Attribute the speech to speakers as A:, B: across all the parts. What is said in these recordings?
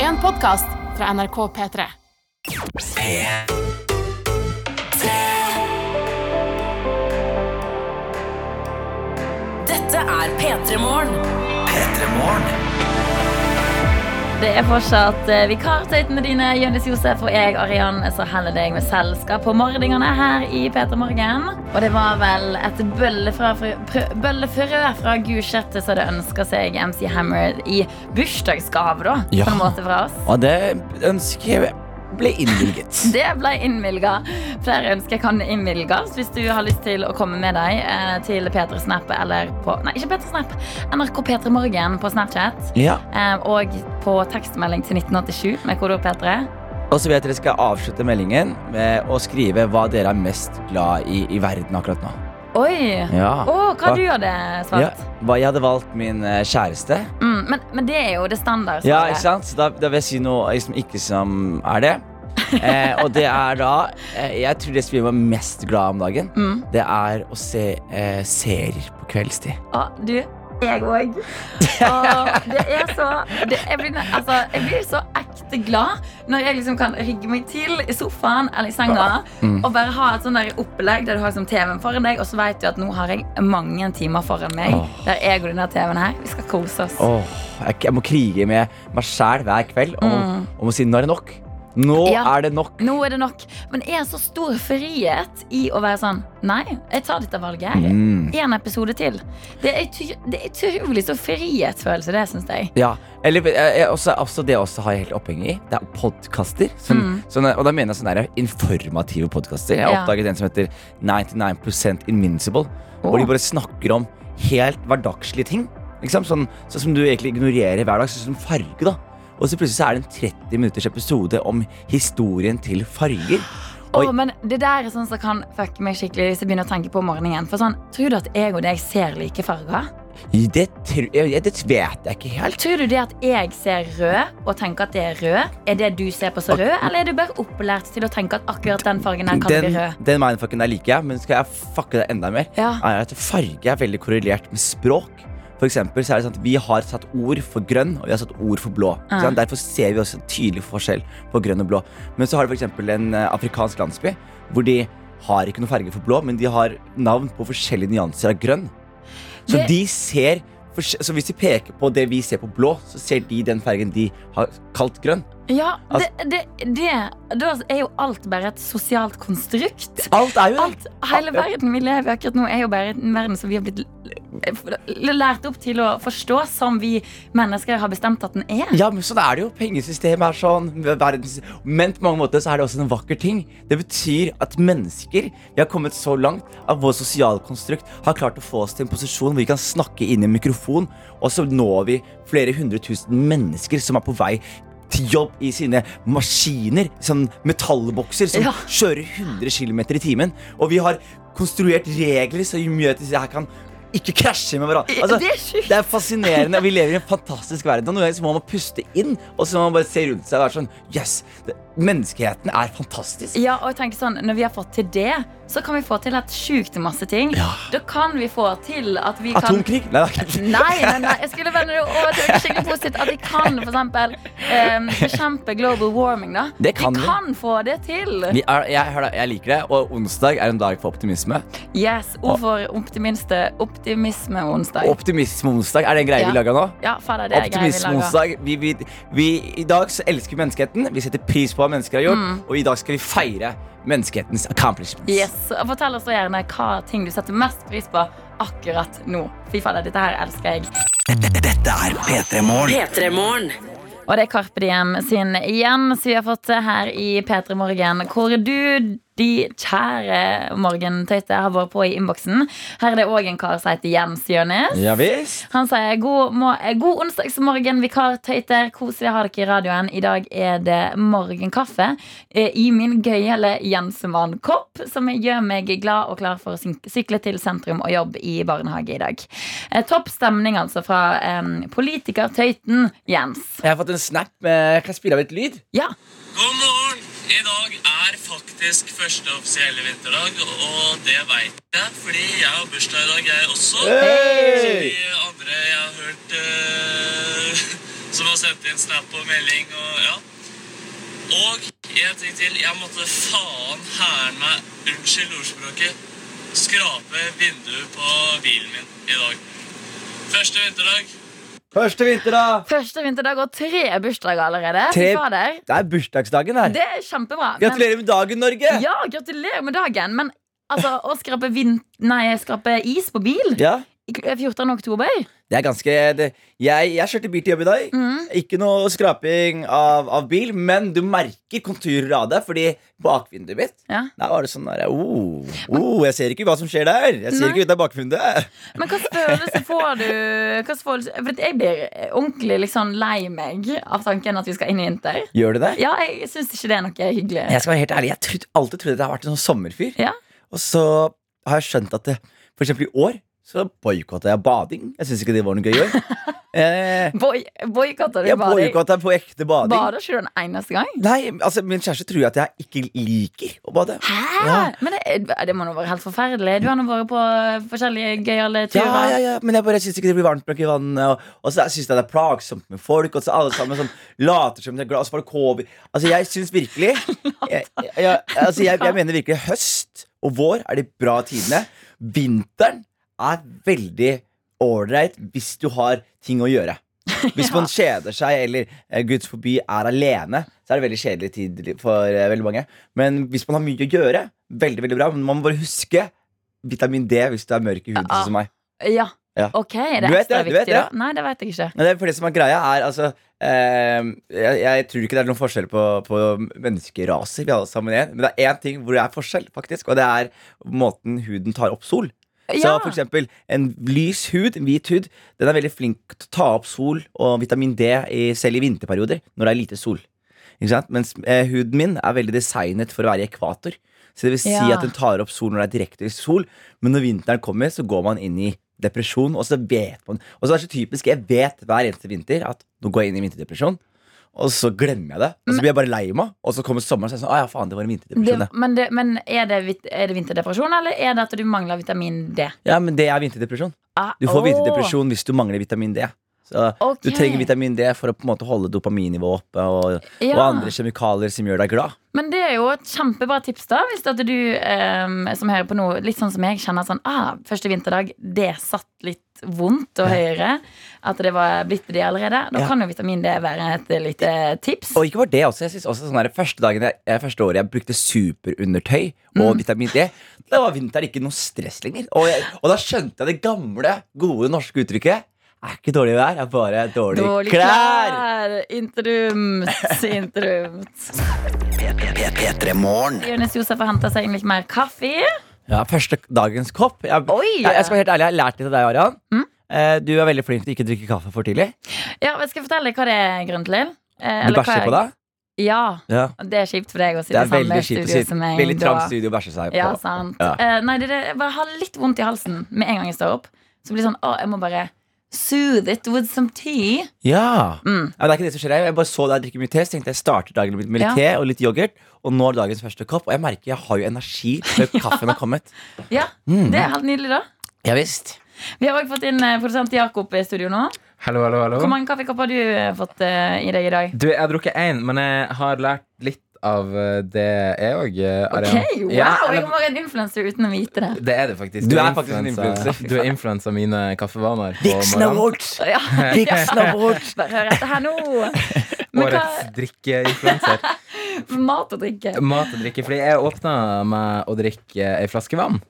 A: en podkast fra NRK P3.
B: Dette er P3 Morgen.
C: Det er fortsatt eh, vikartøytene dine, Jonis Josef og jeg, Arian, som heller deg med selskap på mordingene her i Peter Morgen. Og det var vel et bølle fra, frø- prø- bøllefrø fra Gulset som hadde ønska seg MC Hammer i bursdagsgave, da,
D: Ja.
C: på en måte fra oss.
D: Og det ønsket ble innvilget.
C: Det ble innvilga. Flere ønsker kan innvilges hvis du har lyst til å komme med deg eh, til Peter Snap eller på Nei, ikke Peter Snap. NRK Peter Morgen på Snapchat.
D: Ja,
C: Eh, og på tekstmelding til 1987 med kodord P3.
D: Og så vil jeg at dere skal avslutte meldingen med å skrive hva dere er mest glad i i verden akkurat nå.
C: Oi!
D: Ja.
C: Å, hva du hadde
D: Ja,
C: svart?
D: hva jeg hadde valgt min eh, kjæreste.
C: Mm, men, men det er jo det standard.
D: Ja, ikke sant? Så da, da vil jeg si noe som ikke som er det. Eh, og det er da eh, Jeg tror det som gjør meg mest glad om dagen,
C: Mm.
D: det er å se eh, serier på kveldstid.
C: Å, du, jeg òg. Det er så det, jeg, blir, ne- altså, jeg blir så ekte glad når jeg liksom kan rigge meg til i sofaen eller i senga
D: Mm.
C: og bare ha et sånn der opplegg der du har liksom TV-en foran deg, og så vet du at nå har jeg mange timer foran meg
D: Åh.
C: der jeg og denne TV-en her, vi skal kose oss.
D: Åh, jeg, jeg må krige med meg sjæl hver kveld om, om å si 'nå er det nok'. Nå
C: Mm. Ja.
D: er det nok.
C: Nå er det nok. Men er en så stor frihet i å være sånn Nei, jeg tar dette valget. her.
D: Mm.
C: En episode til. Det er, utro- det er utrolig så frihetsfølelse, det syns jeg.
D: Ja, eller eh, eh, også, også det jeg også har jeg helt oppheng i. Det er podkaster. Sånn, sånne- og da mener jeg sånne der informative podkaster. Jeg har
C: Mm. Ja.
D: oppdaget en som heter 99 Invincible. Hvor
C: Åh.
D: de bare snakker om helt hverdagslige ting. Liksom, sånn, sånn som du egentlig ignorerer hver dag. Sånn som farge, da. Og så plutselig så er det en 30 minutters episode om historien til farger. Oi.
C: Åh, men det der er sånn som kan fucke meg skikkelig hvis jeg begynner å tenke på om morgenen. For sånn, Tror du at jeg og deg ser like farger?
D: Det, tr- jeg- det vet jeg ikke helt.
C: Tror du det at jeg ser rød og tenker at det er rød, er det du ser på som rød? Eller er du bare opplært til å tenke at akkurat den fargen her kan
D: Den,
C: bli rød?
D: den mindfucken der liker jeg, men skal jeg fucke det enda mer?
C: Ja.
D: er at farge er veldig korrelert med språk. For eksempel, så er det sånn at Vi har satt ord for grønn og vi har satt ord for blå. Ikke sant? Derfor ser vi også en tydelig forskjell på grønn og blå. Men så har du for eksempel en eh, afrikansk landsby hvor de har ikke noe farge for blå, men de har navn på forskjellige nyanser av grønn. Så
C: Det-
D: de ser forskj- så hvis de peker på det vi ser på blå, så ser de den fargen de har kalt grønn.
C: Ja, det,
D: Altså-
C: det, det, Da er jo alt bare et sosialt konstrukt.
D: Alt er jo det!
C: Alt, hele verden vi lever i akkurat nå, er jo bare en verden som vi har blitt l- lært opp til å forstå, som vi mennesker har bestemt at den er.
D: Ja, men sånn er det jo. Pengesystemet er sånn. Verdens... Men på mange måter så er det også en vakker ting. Det betyr at mennesker vi har kommet så langt at vår sosiale konstrukt har klart å få oss til en posisjon hvor vi kan snakke inn i en mikrofon, og så når vi flere hundre tusen mennesker som er på vei til jobb i sine maskiner, sånn metallbokser som
C: Ja.
D: kjører 100 km i timen. Og vi har konstruert regler som gjør at disse her kan ikke krasje med hverandre. Altså,
C: Det er sjukt.
D: det er fascinerende. og Vi lever i en fantastisk verden. Og noen ganger så må man puste inn, og så må man bare se rundt seg og være sånn Yes! Det, menneskeheten er fantastisk.
C: Ja, og jeg tenker sånn, Når vi har fått til det, så kan vi få til et sjukt masse ting.
D: Ja.
C: Da kan vi få til at vi kan
D: Atomkrig? Nei, det er ikke
C: Nei, nei, nei, jeg skulle vende det over til noe skikkelig positivt. At vi kan for eksempel, eh, bekjempe global warming. da
D: Det kan
C: Vi
D: vi.
C: kan få det til.
D: vi er, jeg, hør da, jeg liker det, og onsdag er en dag for optimisme.
C: Yes, Ord for optimiste, optimisme onsdag.
D: Optimisme-onsdag, er det en greie
C: Ja.
D: vi lager nå?
C: ja, fader, det er greier vi lager.
D: Optimisme-onsdag. Vi, vi, vi, I dag så elsker vi menneskeheten. Vi setter pris på hva mennesker har gjort, og i dag skal vi feire menneskehetens accomplishments.
C: Mm. Yes, og Fortell oss så gjerne hva ting du setter mest pris på akkurat nå. Fy fader, dette her elsker jeg.
B: P3 Morgen.
C: Og det er Carpe Diem sin igjen, som vi har fått her i P3 Morgen. Hvor du, de kjære morgentøyte, har vært på i innboksen. Her er det òg en kar som heter Jens Jonis.
D: Ja visst.
C: Han sier god, må, eh, god onsdagsmorgen, vikartøyter. Koselig å ha dere i radioen. I dag er det morgenkaffe eh, i min gøyale Jensemann-kopp, som gjør meg glad og klar for å syn- sykle til sentrum og jobb i barnehage i dag. Eh, Topp stemning altså fra eh, politikertøyten Jens.
D: Jeg har fått en snap. Med, kan jeg spille av et lyd?
C: Ja.
E: God morgen! I dag er faktisk første offisielle vinterdag, og det veit jeg, fordi jeg har bursdag i dag, jeg også. Så de andre jeg har hørt eh, som har sendt inn snap og melding og ja. Og en ting til. Jeg måtte faen hæren meg, unnskyld ordspråket, skrape vinduet på bilen min i dag. Første vinterdag.
D: Første vinter, da!
C: Første vinterdag og tre bursdager allerede. Fy
D: Tre-
C: fader.
D: Det er bursdagsdagen her.
C: Det er kjempebra. men-
D: Gratulerer med dagen, Norge!
C: Ja, gratulerer med dagen. Men altså, å skrape, vin nei, skrape is på bil
D: Ja,
C: i kl- 14. oktober
D: Det er ganske det, jeg, jeg kjørte bil til jobb i dag.
C: Mm.
D: Ikke noe skraping av, av bil, men du merker konturer av det, fordi bakvinduet mitt
C: ja.
D: Der var det sånn der, oh, oh, Jeg ser ikke hva som skjer der. Jeg ser
C: Nei.
D: ikke ut av bakvinduet.
C: Men hva slags følelse får du? Hva slags følelse? For jeg blir ordentlig liksom lei meg av tanken at vi skal inn i vinter.
D: Gjør du det?
C: Ja, jeg syns ikke det er noe hyggelig.
D: Jeg skal være helt ærlig, jeg trodde, alltid trodde at jeg har vært en sånn sommerfyr.
C: Ja.
D: Og så har jeg skjønt at det, for eksempel i år så boikotta jeg bading. Jeg syns ikke det var noe gøy i år. eh,
C: Boy, boykotter du
D: jeg
C: bading?
D: boikotta på ekte bading.
C: Bader ikke du den eneste gang?
D: Nei, altså Min kjæreste tror at jeg ikke liker å bade.
C: Hæ?
D: Ja.
C: Men det, det må nå være helt forferdelig. Du har nå vært på forskjellige gøyale
D: Ja,
C: turer.
D: ja, ja, Men jeg bare syns ikke det blir varmt nok i vannet. Og, og så syns jeg det er plagsomt med folk. Og så alle sammen sånn later som de er glad. Og så var det covid. Altså, jeg syns virkelig jeg, jeg, jeg, altså, jeg, jeg mener virkelig høst og vår er de bra tidene. Vinteren er veldig ålreit hvis du har ting å gjøre. Hvis man kjeder seg eller eh, guds forbi er alene, så er det veldig kjedelig tid for eh, veldig mange. Men hvis man har mye å gjøre, veldig veldig bra. Men man må bare huske vitamin D hvis du er mørk i huden,
C: Ja.
D: sånn som meg.
C: Ja.
D: Ja.
C: Ok, er det
D: Du vet
C: ekstra
D: det, du vet
C: viktig da?
D: det.
C: Nei, det vet jeg ikke.
D: Men det, er- for det som er greia er altså eh, jeg, jeg tror ikke det er noen forskjell på, på menneskeraser. Vi er alle sammen en, Men det er én ting hvor det er forskjell, faktisk, og det er måten huden tar opp sol. Så
C: Ja.
D: for eksempel en lys hud, en hvit hud, den er veldig flink til å ta opp sol og vitamin D i, selv i vinterperioder når det er lite sol. Ikke sant? Mens eh, huden min er veldig designet for å være i ekvator. Så det vil si
C: Ja.
D: at den tar opp sol når det er direkte sol, men når vinteren kommer, så går man inn i depresjon, og så vet man Og så er det så typisk, jeg vet hver eneste vinter at nå går jeg inn i vinterdepresjon, og så glemmer jeg det. Og så blir jeg bare lei meg, og så kommer sommeren, og så er jeg sånn Å ja, faen, det var en vinterdepresjon,
C: Det,
D: det.
C: men det, men er, det, vit- er det vinterdepresjon, eller er det at du mangler vitamin D?
D: Ja, men det er vinterdepresjon.
C: Ah,
D: Du får
C: åh,
D: vinterdepresjon hvis du mangler vitamin D. Så
C: ok.
D: Du trenger vitamin D for å på en måte holde dopaminnivået oppe og,
C: Ja.
D: og andre kjemikalier som gjør deg glad.
C: Men det er jo et kjempebra tips, da. Hvis at du ehm, som hører på nå, litt sånn som jeg, kjenner sånn ah, Første vinterdag, det satt litt vondt og høyere. At det var blitt det allerede. Da
D: Ja.
C: kan jo vitamin D være et lite tips.
D: Og ikke bare det også, jeg synes også sånn der, første, dagen jeg, eh, første året jeg brukte superundertøy og
C: Mm.
D: vitamin D, da var vinteren ikke noe stress lenger. Og, jeg, og da skjønte jeg det gamle, gode norske uttrykket. Er ikke dårlig vær, er bare dårlig,
C: Dårlig
D: klær.
C: klær! Interrumt, interrumt. Jonis Josef har henta seg inn litt mer kaffe.
D: Ja, første dagens kopp. Jeg,
C: Oi! Mm.
D: jeg, jeg skal være helt ærlig, jeg har lært litt av deg, Arian. Eh, Du er veldig flink til å ikke drikke kaffe for tidlig.
C: Ja, men Skal jeg fortelle deg hva det er grunnen til? Eh,
D: Du
C: eller hva
D: bæsjer
C: jeg-
D: på deg.
C: Ja,
D: Ja.
C: det er kjipt for deg å
D: Det
C: sitte
D: er veldig
C: samme
D: kjipt å
C: studio
D: si.
C: som meg.
D: Veldig
C: da.
D: trangt studio å bæsje seg på.
C: Ja, sant.
D: Ja.
C: Eh, nei, det, er det, jeg bare har litt vondt i halsen med en gang jeg står opp. Så blir det sånn, å, jeg må bare soothe it with some tea.
D: Ja. ja men
C: Mm.
D: det er ikke det som skjer Jeg- Jeg bare så deg drikke mye te, så tenkte jeg starter dagen med med litt
C: Ja.
D: te og litt yoghurt. Og nå er dagens første kopp, og jeg merker jeg har jo energi før kaffen har kommet.
C: Ja,
D: Mm.
C: Det er helt nydelig, da.
D: Ja visst.
C: Vi har også fått inn eh, produsent Jakob i studio nå.
B: Hallo, hallo, hallo.
C: Hvor mange kaffekopper har du eh, fått eh, i deg i dag?
B: Du, jeg har drukket én, men jeg har lært litt av eh, det jeg òg,
C: Ok,
B: Arian.
C: wow,
B: Ja, eller-
C: Jeg må være en influenser uten å vite det.
B: det er det faktisk.
D: Du er
B: influencer.
D: faktisk en influencer.
B: Du er influensa mine kaffevaner. på
D: Vixen
B: morgenen.
D: Awards!
C: Ja,
D: Vixen Awards!
C: Bare hør etter her nå. Men hva
B: Årets drikkeinfluenser.
C: Mat og drikke.
B: Mat og drikke. Fordi jeg åpna med å drikke ei flaske vann.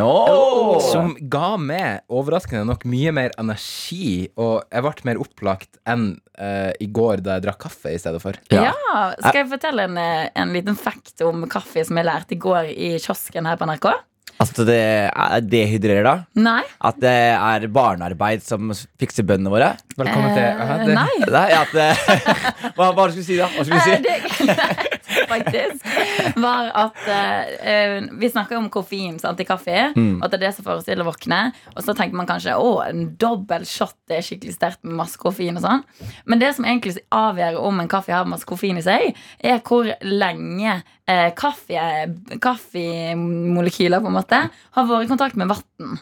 D: Åh.
B: Som ga meg overraskende nok mye mer energi, og jeg ble mer opplagt enn eh, i går da jeg drakk kaffe i stedet for.
C: Ja, Skal jeg fortelle en, eh, en liten fact om kaffe som jeg lærte i går i kiosken her på NRK?
D: Altså, det er dehydrerer da.
C: Nei.
D: At det er barnearbeid som fikser bøndene våre.
B: Velkommen til Ja,
C: Eh,
B: det-
C: Nei.
D: Nei, at, eh, hva, hva skulle du si da? Hva skulle du
C: Eh,
D: si?
C: Det greit, faktisk var at eh, eh, Vi snakker jo om koffein sant, i kaffe.
D: Mm.
C: Og at det er det som får oss til å våkne. Og så tenker man kanskje å, en dobbel shot det er skikkelig sterkt med masse koffein. og sånn Men det som egentlig avgjør om en kaffe har masse koffein i seg, er hvor lenge eh, kaffe, kaffemolekyler på en måte har vært i kontakt med vann.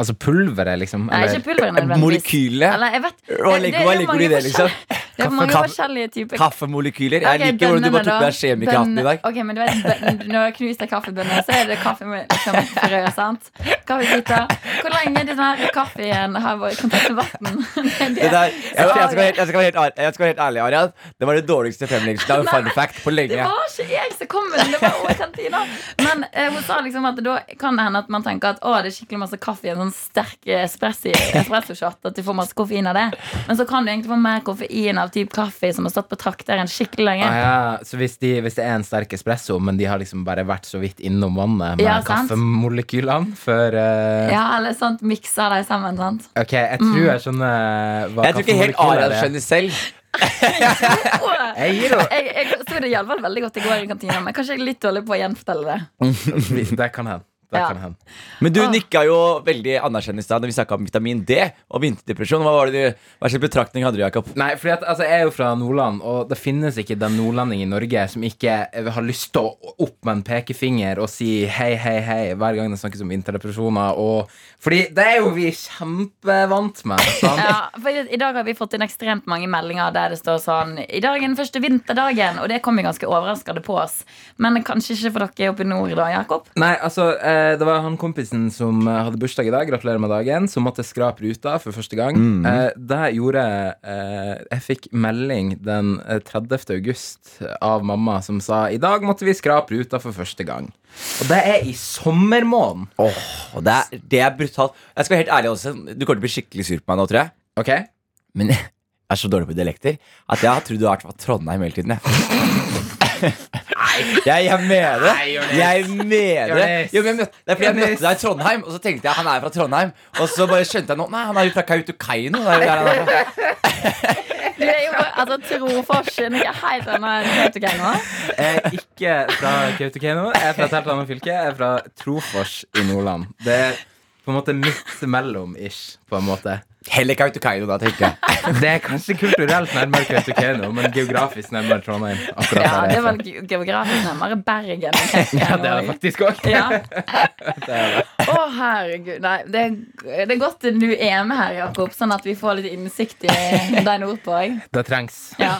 B: Altså pulveret, liksom.
C: Nei,
B: eller-
C: ikke pulveret nødvendigvis.
D: Molekylene.
C: Eller, jeg vet, eh,
D: Hva
C: det- det
D: ligger- hva
C: er jo
D: ligger
C: mange
D: det liksom? i det,
C: forskjell- Det er mange
D: Kaffe-
C: forskjellige typer
D: Kaffemolekyler. Jeg
C: Ok,
D: liker hvordan du
C: bønnene
D: bare tok
C: da.
D: med deg kjemikerhatten i
C: Bønne-
D: dag.
C: Ok, men du vet, bøn- Når jeg knuser kaffebønner, så er det kaffe med liksom, frø. sant? Kaffebiter. Hvor lenge den her kaffen har vært i kontakt med vann? Det er
D: Det
C: det.
D: der, jeg, skal, jeg, skal være helt, jeg, skal være helt, ærlig- jeg skal være helt ærlig, Arian. Det var det dårligste fremleggelsen av en fun fact på
C: Det
D: lenge.
C: var ikke jeg som kom med den, det var over kantina. Men eh, hun sa liksom at da kan det hende at man tenker at å, det er skikkelig masse kaffe i en sånn sterk espressi- espresso-shot, at du får masse koffein av det. Men så kan du egentlig få mer koffein av typ kaffe som har stått på trakteren skikkelig lenge.
B: Ah, ja. Så hvis, de, hvis det er en sterk espresso, men de har liksom bare vært så vidt innom vannet med
C: Ja, sant.
B: kaffemolekylene før eh,
C: Ja, Mm. eller sånt mikser de sammen, sant.
B: Ok, jeg tror jeg skjønner hva
D: Jeg tror ikke helt Arian
B: kaffemolekyler er.
D: skjønner selv.
C: Åh.
B: Jeg gir henne
C: jeg, jeg forsto det iallfall veldig godt i går i kantina, men kanskje jeg er litt dårlig på å gjenfortelle det.
D: sånn.
B: Det kan hende. Det
C: Ja.
B: kan hende.
D: Men du
C: Ah.
D: nikka jo veldig anerkjennende i stad når vi snakka om vitamin D og vinterdepresjon. Hva var det du, hva slags betraktning hadde du, Jakob?
B: Nei, fordi at, altså, jeg er jo fra Nordland, og det finnes ikke den nordlending i Norge som ikke har lyst til å opp med en pekefinger og si hei, hei, hei hver gang det snakkes om vinterdepresjoner. Og, fordi det er jo vi kjempevant med. Sant?
C: Ja, for I i dag har vi fått inn ekstremt mange meldinger der det står sånn I dag er den første vinterdagen, og det kom jo ganske overraskende på oss. Men kanskje ikke for dere oppe i nord da, Jakob?
B: Nei, altså, eh, det var han kompisen som eh, hadde bursdag i dag, gratulerer med dagen, som måtte skrape ruta for første gang. Eh, det gjorde eh, Jeg fikk melding den eh, 30. august av mamma som sa i dag måtte vi skrape ruta for første gang. Og det er i sommermåneden.
D: Åh, det, er, det er brutalt. Jeg skal være helt ærlig også. Du kommer til å bli skikkelig sur på meg nå, tror jeg.
B: Ok?
D: Men jeg er så dårlig på dialekter at jeg har trodd du har vært fra Trondheim hele tiden. Jeg. Jeg, jeg mener det. Jeg mener det.
B: Jonis.
D: Jo, men jeg møtte, det er fordi jeg
B: Jonis.
D: møtte deg i Trondheim, og så tenkte jeg han er fra Trondheim. Og så bare skjønte jeg nå Nei, han er jo fra Kautokeino. Det er jo der han er fra.
C: Du er jo altså, Trofors er noe helt annet enn Kautokeino.
B: Jeg er ikke fra Kautokeino. Jeg er fra et helt annet fylke. Jeg er fra Trofors i Nordland. Det er på en måte midt mellom-ish, på en måte.
D: Heller Kautokeino, da, tenker jeg.
B: Det er kanskje kulturelt nærmere Kautokeino, men geografisk nærmere Trondheim. Akkurat
C: Ja,
B: der
C: det
B: jeg
C: er
B: fra.
C: vel ge- geografisk nærmere Bergen. enn
B: ja,
C: Kautokeino.
B: det er det faktisk òg.
C: Ja. Å, herregud. Nei, det er, det er godt du er med her, Jakob, sånn at vi får litt innsikt i deg nordpå. jeg.
B: Det trengs.
C: Ja.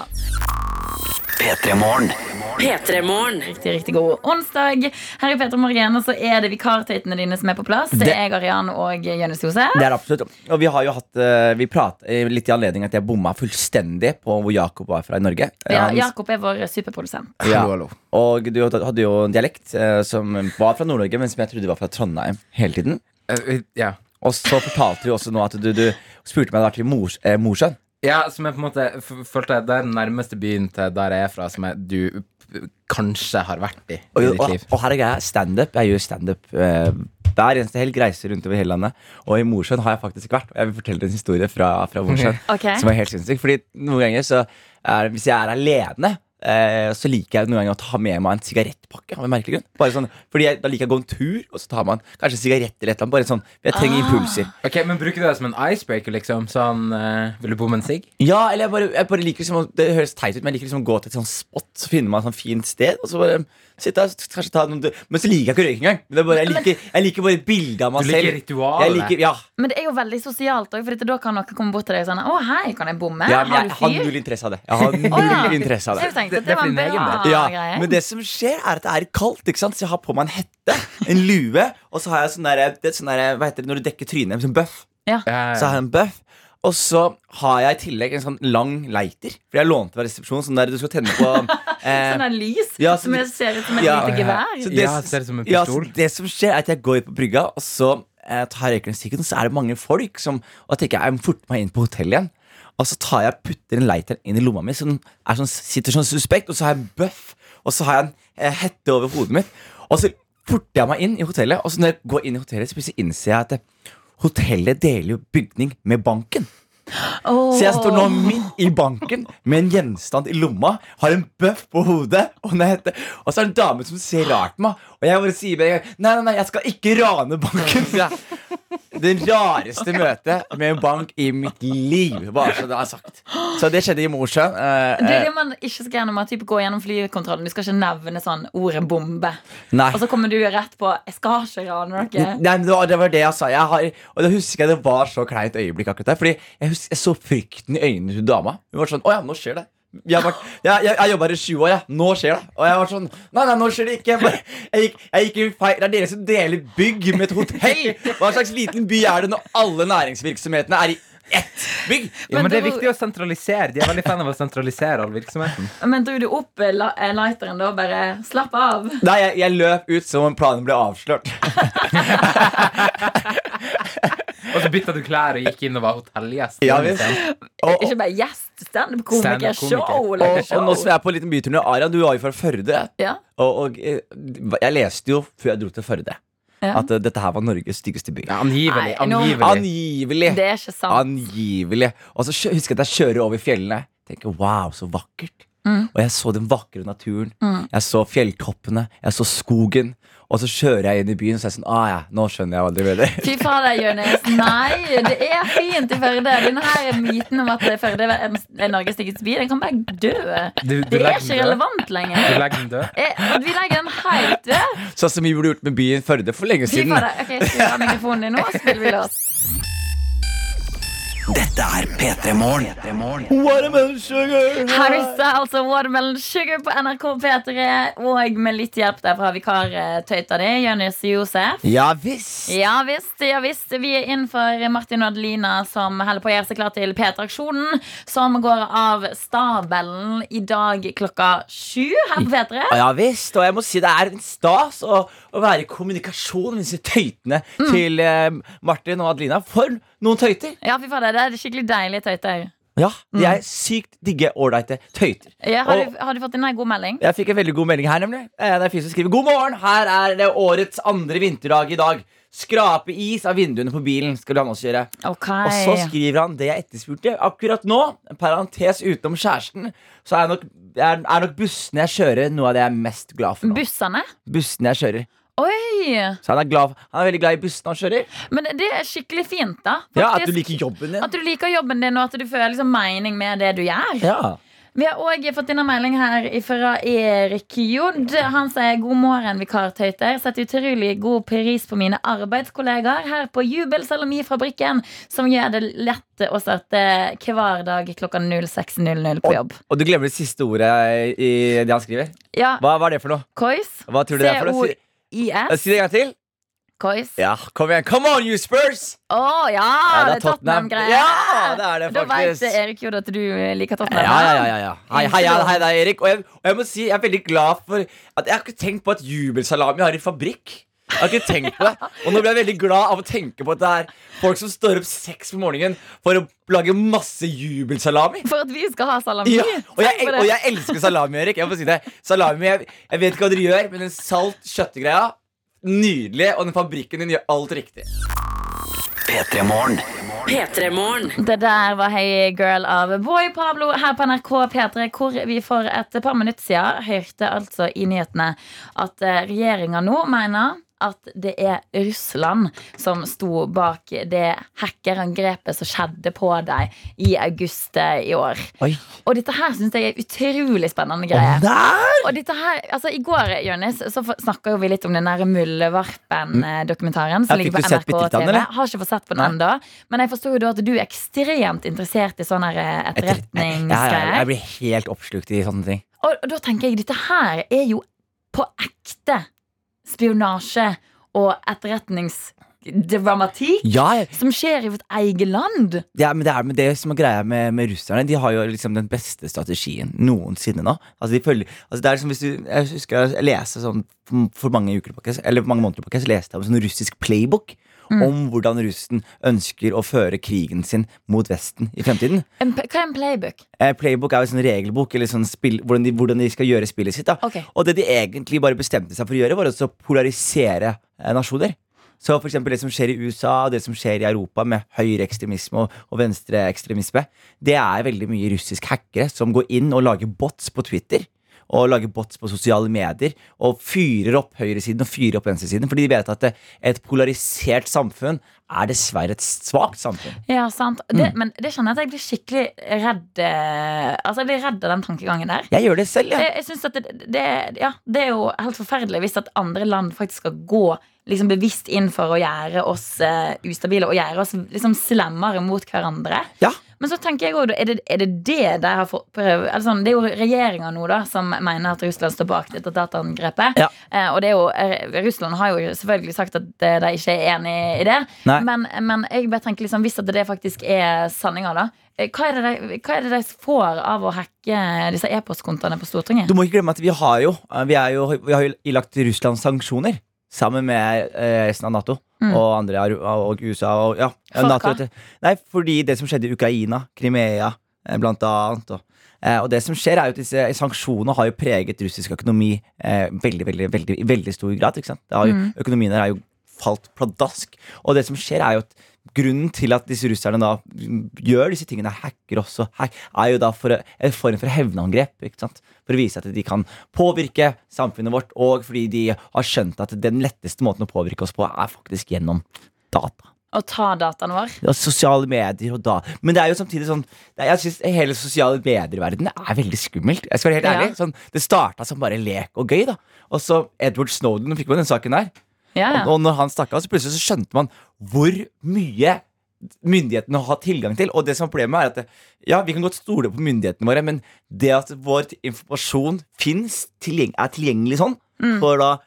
F: P3-morgen.
C: Riktig, riktig god onsdag. Her i Petra Morgen og så er det vikartøytene dine som er på plass. Det er jeg, Arian og Jonis Josef.
D: Det er absolutt. Og vi har jo hatt eh, Vi prat eh, litt i anledning at jeg bomma fullstendig på hvor Jakob var fra i Norge. Eh,
C: Ja,
D: Han-
C: Jakob er vår superprodusent.
D: Ja.
B: Hallo, hallo.
D: Og du hadde jo en dialekt eh, som var fra Nord-Norge, men som jeg trodde var fra Trondheim hele tiden.
B: Eh, ja.
D: Og så fortalte du også nå at du, du spurte meg om jeg hadde vært i Mors, eh, Mosjøen.
B: ja, som jeg på en måte f- følte jeg, Det er den nærmeste byen til der jeg er fra, som jeg, du p- kanskje har vært i i
D: Og,
B: ditt
D: og,
B: liv.
D: og her er greia. Standup. Jeg gjør standup eh, hver eneste helg. Reiser rundt over hele landet. Og i Mosjøen har jeg faktisk vært. Og jeg vil fortelle en historie fra, fra Mosjøen
C: Ok.
D: som er helt sinnssyk. Fordi noen ganger så er, Hvis jeg er alene eh, så liker jeg noen ganger å ta med meg en sigarettpakke. Av en merkelig grunn Bare sånn, fordi jeg, Da liker jeg å gå en tur, og så tar man kanskje en sigarett eller et eller annet. Bare sånn, Jeg trenger impulser.
B: Ok, Men bruker du det som en icebreaker, liksom? Sånn eh, Vil du bomme en sigg?
D: Ja, eller jeg bare, jeg bare liker liksom, å- Det høres teit ut, men jeg liker liksom å gå til et sånt spot, så finne meg et sånt fint sted, og så bare um, sitte der, så kanskje ta noen dø- Men så liker jeg ikke å røyke engang. Men det er bare, jeg, liker, jeg liker bare bildet av meg
B: Du liker
D: selv.
B: ritualet.
D: Jeg liker, ja,
C: Men det er jo veldig sosialt òg, for dette, da kan noen komme bort til deg og sånn Å, hei, kan jeg bomme?
D: ja, men
C: Har
D: jeg
C: du
D: har
C: fyr?
D: null interesse av det. Jeg har null
C: Å, ja.
D: interesse av
C: Så
D: det.
C: jeg tenkte at
B: Det- det
C: det
B: er
C: var en
B: for din
C: bra
B: egen
D: Ja,
C: greie.
D: men det som skjer, er at det er kaldt, ikke sant? så jeg har på meg en hette, en lue, og så har jeg sånn derre det er sånn der, Hva heter det når du dekker trynet? Sånn bøff.
B: Eh,
D: Så har jeg en bøff. Og så har jeg i tillegg en sånn lang leiter, for jeg lånte fra resepsjonen. Sånn der du skal tenne på eh,
C: Sånn der lys
D: Ja, så
C: som
D: det-
C: jeg ser ut som et
D: Ja.
C: lite gevær.
D: Så
B: Ja, ser ut som en
D: ja,
B: pistol.
D: så det som skjer, er at jeg går ut på brygga, og så eh, tar jeg røykelstikken, og så er det mange folk som Og jeg tenker jeg må forte meg inn på hotellet igjen. Og så tar jeg putter en lighter inn i lomma mi, som er sånn, sitter sånn suspekt, og så har jeg en bøff, og så har jeg en eh, hette over hodet mitt. Og så forter jeg meg inn i hotellet, og så når jeg går inn i hotellet, så plutselig innser jeg at eh, hotellet deler jo bygning med banken.
C: Åh.
D: Så jeg står nå midt i banken med en gjenstand i lomma, har en bøff på hodet, og, når jeg heter, og så er det en dame som ser rart på meg. Og jeg bare sier med en gang nei, nei, nei, jeg skal ikke rane banken. sier jeg. det rareste møtet med en bank i mitt liv. Bare så det er sagt. Så det skjedde i Mosjøen. eh,
C: Det er
D: eh,
C: det man ikke skal gjøre når man typ går gjennom flykontrollen. Du skal ikke nevne sånn ordet bombe.
D: nei.
C: Og så kommer du rett på 'jeg skal ikke rane dere'.
D: Nei, men det var- det var det jeg sa. Jeg har, og da husker jeg det var så kleint øyeblikk akkurat der. Fordi jeg, husker, jeg så frykten i øynene til dama. Hun var sånn Å ja, nå skjer det. Jeg, har vært- jeg, jeg, jeg jobba her i sju år, jeg. Nå skjer det. Og jeg var sånn Nei, nei, nå skjer det ikke. Jeg, bare, jeg, gikk, jeg gikk i feil Det er dere som deler bygg med et hotell! Hva slags liten by er det når alle næringsvirksomhetene er i ett bygg?
B: Ja, men
C: Men
B: det er
C: det-
B: viktig å sentralisere. De er veldig fan av å sentralisere all virksomheten.
C: Men dro du opp eh, la- eh, lighteren da? Bare slapp av.
D: Nei, jeg, jeg løp ut som om planen ble avslørt.
B: Og så bytta du klær og gikk inn og var hotellgjest. Liksom.
D: Ja, visst. Og,
C: Ikke bare gjest, standup-komiker,
B: Stand-up-komiker.
C: show.
D: og,
C: Like,
D: og, og nå som
C: show.
D: jeg er på en liten bytur med Aria, du var jo fra Førde.
C: Ja.
D: Og, og eh, jeg leste jo før jeg dro til Førde,
C: Ja.
D: at eh, dette her var Norges styggeste by.
B: Ja, angivelig.
C: Nei, nå-
B: angivelig.
D: Angivelig!
C: Det er ikke sant.
D: Angivelig. Og så kjø- husker jeg at jeg kjører over fjellene. Tenker, wow, så vakkert.
C: Mm.
D: Og jeg så den vakre naturen. Jeg så fjelltoppene. Jeg så skogen. Og så kjører jeg inn i byen, og så er jeg sånn ah, ja, Nå skjønner jeg hva dere mener.
C: Fy fader, Jonis. Nei, det er fint i Førde. Denne her myten om at Førde er en- er Norges styggeste by, den kan bare dø.
B: Du- du
C: Det er
B: legger den
C: ikke
B: død.
C: relevant
B: Du
C: lenger.
B: legger den død.
C: Eh, og Vi legger den helt død.
D: Sånn som vi burde gjort med byen Førde for lenge
C: Fy
D: siden.
C: fader. Ok, skal vi ha mikrofonen din nå, så spiller vi låt.
F: Dette er P3 Morgen.
D: What a man, sugar.
C: Harry Styles og altså, Watermelon Sugar på NRK P3. Og med litt hjelp der fra vikartøyta di, Jonis Josef.
D: Ja visst.
C: Ja visst, ja visst. Vi er inn for Martin og Adelina, som holder på å gjøre seg klar til P3-aksjonen. Som går av stabelen i dag klokka sju her på P3.
D: Ja visst, og jeg må si det er en stas å, å være i kommunikasjon med disse tøytene til eh, Martin og Adelina. For noen tøyter!
C: Ja, fy fader, det er skikkelig deilige tøyter.
D: Ja, De er sykt digge, ålreite tøyter.
C: Ja, har,
D: Og-
C: du, har du fått inn ei god melding?
D: Jeg fikk en veldig god melding her, nemlig. Eh, Det er fyr som skriver God morgen! Her er det årets andre vinterdag i dag. Skrape is av vinduene på bilen, skal han også gjøre.
C: Ok.
D: Og så skriver han det jeg etterspurte akkurat nå. En parentes utenom kjæresten. Så er nok, er, er nok bussene jeg kjører, noe av det jeg er mest glad for nå.
C: Bussene?
D: Bussene jeg kjører.
C: Oi!
D: Så han er, glad, han er veldig glad i bussen han kjører.
C: Men det er skikkelig fint, da.
D: Ja, At du
C: faktisk.
D: liker jobben din.
C: At du liker jobben din, og at du føler liksom mening med det du gjør.
D: Ja.
C: Vi har òg fått inn en melding her fra Erik Jod. Han sier god morgen, vikartøyter. Setter utrolig god pris på mine arbeidskollegaer her på Jubel Salamifabrikken, som gjør det lett å starte hver dag klokka 06.00 på jobb.
D: Og du glemmer det siste ordet i det han skriver.
C: Ja,
D: Hva, hva er det for noe?
C: Kois.
D: Hva tror du det er for noe? Si,
C: C-O-I-S.
D: si det en gang til.
C: Kois. Å
D: Ja, kom igjen. Come on, you Spurs!
C: ja, det er Tottenham-greier.
D: Ja, det er det
C: da veit
D: faktisk.
C: Erik Jod at du liker Tottenham.
D: Ja, ja, ja, ja. Hei, hei, hei, hei deg, Erik. Og jeg, og jeg må si, jeg er veldig glad for at jeg har ikke tenkt på at Jubelsalami har en fabrikk. Jeg har ikke tenkt på det Og nå blir jeg veldig glad av å tenke på at det er folk som står opp seks på morgenen for å lage masse jubelsalami.
C: For at vi skal ha salami.
D: Ja, og, jeg,
C: Tenk på det.
D: og jeg elsker salami, Erik. Jeg må si det Salami, jeg, jeg vet ikke hva dere gjør, men den salt kjøttgreia Nydelig. Og den fabrikken din gjør alt riktig.
F: P3 Morgen.
C: Det der var Hey Girl av Boy Pablo her på NRK P3, hvor vi for et par minutter siden hørte altså i nyhetene at regjeringa nå mener at det er Russland som sto bak det hackerangrepet som skjedde på deg i august eh, i år.
D: Oi.
C: Og dette her syns jeg er utrolig spennende greie.
D: Der!
C: Og dette her, altså I går Jonis, så snakka vi litt om den der Muldvarpen-dokumentaren.
D: Ja,
C: som
D: fikk
C: ligger på
D: du sett
C: NRK
D: bitte litt av den,
C: TV
D: eller?
C: Har ikke fått sett på den
D: Nei.
C: ennå. Men jeg forsto jo da at du er ekstremt interessert i sånne her, eh,
D: Ja, ja,
C: etterretningsgreier.
D: jeg blir helt oppslukt i sånne ting.
C: Og, og da tenker jeg dette her er jo på ekte spionasje og etterretningsdramatikk
D: Ja, jeg,
C: som skjer i vårt eget land.
D: det er, men det er med det som er greia med, med russerne. De har jo liksom den beste strategien noensinne nå. Altså, de følger, altså det er liksom hvis du, Jeg husker jeg leste sånn for, for mange uker tilbake, Eller for mange måneder tilbake Så leste jeg om sånn russisk playbook. Om hvordan russen ønsker å føre krigen sin mot Vesten i fremtiden.
C: En, p- hva er en playbook?
D: Eh, playbook er jo sånn regelbok, eller sånn spill, hvordan, de, hvordan de skal gjøre spillet sitt. da
C: Ok.
D: Og det de egentlig bare bestemte seg for å gjøre, var også å polarisere eh, nasjoner. Så for eksempel det som skjer i USA, og det som skjer i Europa med høyreekstremisme og, og venstreekstremisme, det er veldig mye russisk hackere som går inn og lager bots på Twitter. og lager bots på sosiale medier og fyrer opp høyresiden og fyrer opp venstresiden. Fordi de vet at eh, et polarisert samfunn er dessverre et svakt samfunn.
C: Ja, sant.
D: Mm.
C: Det, men det kjenner jeg at jeg blir skikkelig redd eh, Altså, jeg blir redd av den tankegangen der.
D: Jeg gjør det selv, jeg.
C: Jeg, jeg synes at det, det, ja, det er jo helt forferdelig hvis at andre land faktisk skal gå liksom bevisst inn for å gjøre oss eh, ustabile og gjøre oss liksom slemmere mot hverandre.
D: Ja.
C: Men så tenker jeg også, er det er det, det de har fått prøve? Eller sånn, det er jo regjeringa nå da som mener at Russland står bak dette dataangrepet.
D: Ja.
C: Eh, og det er jo, eh, Russland har jo selvfølgelig sagt at eh, de ikke er enig i det.
D: Nei.
C: Men, men jeg bare tenker liksom, hvis at det faktisk er sanninga, da. eh, Hva er, det de, hva er det de får av å hacke disse e-postkontoene på Stortinget?
D: Du må ikke glemme at vi har jo, eh, vi er jo, vi har jo ilagt Russland sanksjoner. Sammen med eh, resten av Nato
C: Mm.
D: og andre av- og USA. Og, ja,
C: For
D: NATO,
C: hva?
D: vet du. Nei, fordi det som skjedde i Ukraina, Krimea eh, blant annet. Og, eh, og det som skjer, er jo at disse eh, sanksjonene har jo preget russisk økonomi eh, veldig, veldig, veldig, i veldig stor grad. Ikke sant? Det har jo, Økonomien der er jo falt pladask. Og det som skjer, er jo at grunnen til at disse russerne da gjør disse tingene, hacker også, hack, er jo da for å- en form for hevnangrep. ikke sant? For å vise at de kan påvirke samfunnet vårt, og fordi de har skjønt at den letteste måten å påvirke oss på, er faktisk gjennom data
C: Å ta dataen vår?
D: og sosiale medier og da Men det er jo samtidig sånn det er- Jeg synes hele sosiale medier-verdenen er veldig skummelt. Jeg skal være helt
C: Ja.
D: ærlig sånn, Det starta som bare lek og gøy, da. Og så Edward Snowden fikk man den saken der.
C: Ja, ja.
D: Og, og når han stakk av, så plutselig så skjønte man hvor mye myndighetene har tilgang til. Og det som er problemet er at det- ja, vi kan godt stole på myndighetene våre, men det at vår informasjon finnes, tilgjeng er tilgjengelig sånn, for da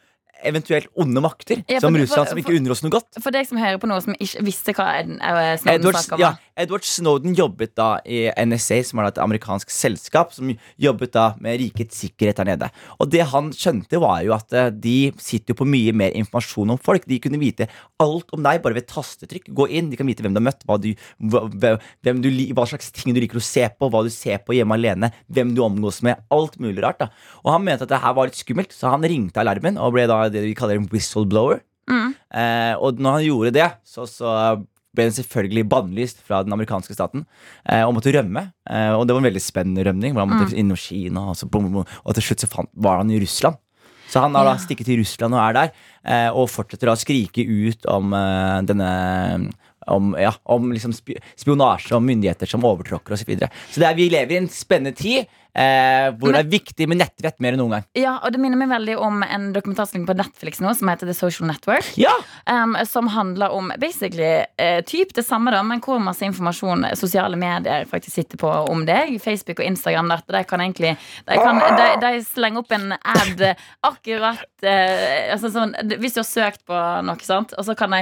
D: eventuelt onde makter,
C: Mm. Ja,
D: som
C: for- for-
D: Russland, som ikke
C: for-
D: unner oss noe godt.
C: For deg som hører på noe som ikke visste hva en eh,
D: Edward,
C: Snowden-sak
D: ja,
C: var.
D: Edward Snowden jobbet da i NSA, som er da et amerikansk selskap som jobbet da med rikets sikkerhet der nede. Og det han skjønte, var jo at eh, de sitter jo på mye mer informasjon om folk. De kunne vite alt om deg bare ved tastetrykk. Gå inn, de kan vite hvem du har møtt, hva, du, hva, hva- hvem du, li- hva slags ting du liker å se på, hva du ser på hjemme alene, hvem du omgås med. Alt mulig rart. da Og han mente at det her var litt skummelt, så han ringte alarmen og ble da det vi kaller en whistleblower. Eh, og når han gjorde det, så, så ble han selvfølgelig bannlyst fra den amerikanske staten eh, og måtte rømme. Eh, og det var en veldig spennende rømning. Hvor han måtte innom Kina, og, så bom, bom, og til slutt så fant, var han i Russland. Så han har da stikket til Russland og er der, eh, og fortsetter da å skrike ut om eh, denne om, ja, om liksom spi- spionasje og myndigheter som overtråkker osv. Så, videre. så det er, vi lever i en spennende tid eh, hvor det er viktig med nettvett mer enn noen gang.
C: Ja, og Det minner meg veldig om en dokumentarfilm på Netflix nå som heter The Social Network.
D: Ja!
C: em, som handler om basically eh, typ det samme, da, men hvor masse informasjon sosiale medier faktisk sitter på om deg. Facebook og Instagram. Da, at de kan egentlig De, kan, de, de slenger opp en ad eh, akkurat eh, altså sånn, d- Hvis du har søkt på noe, sant, og så kan de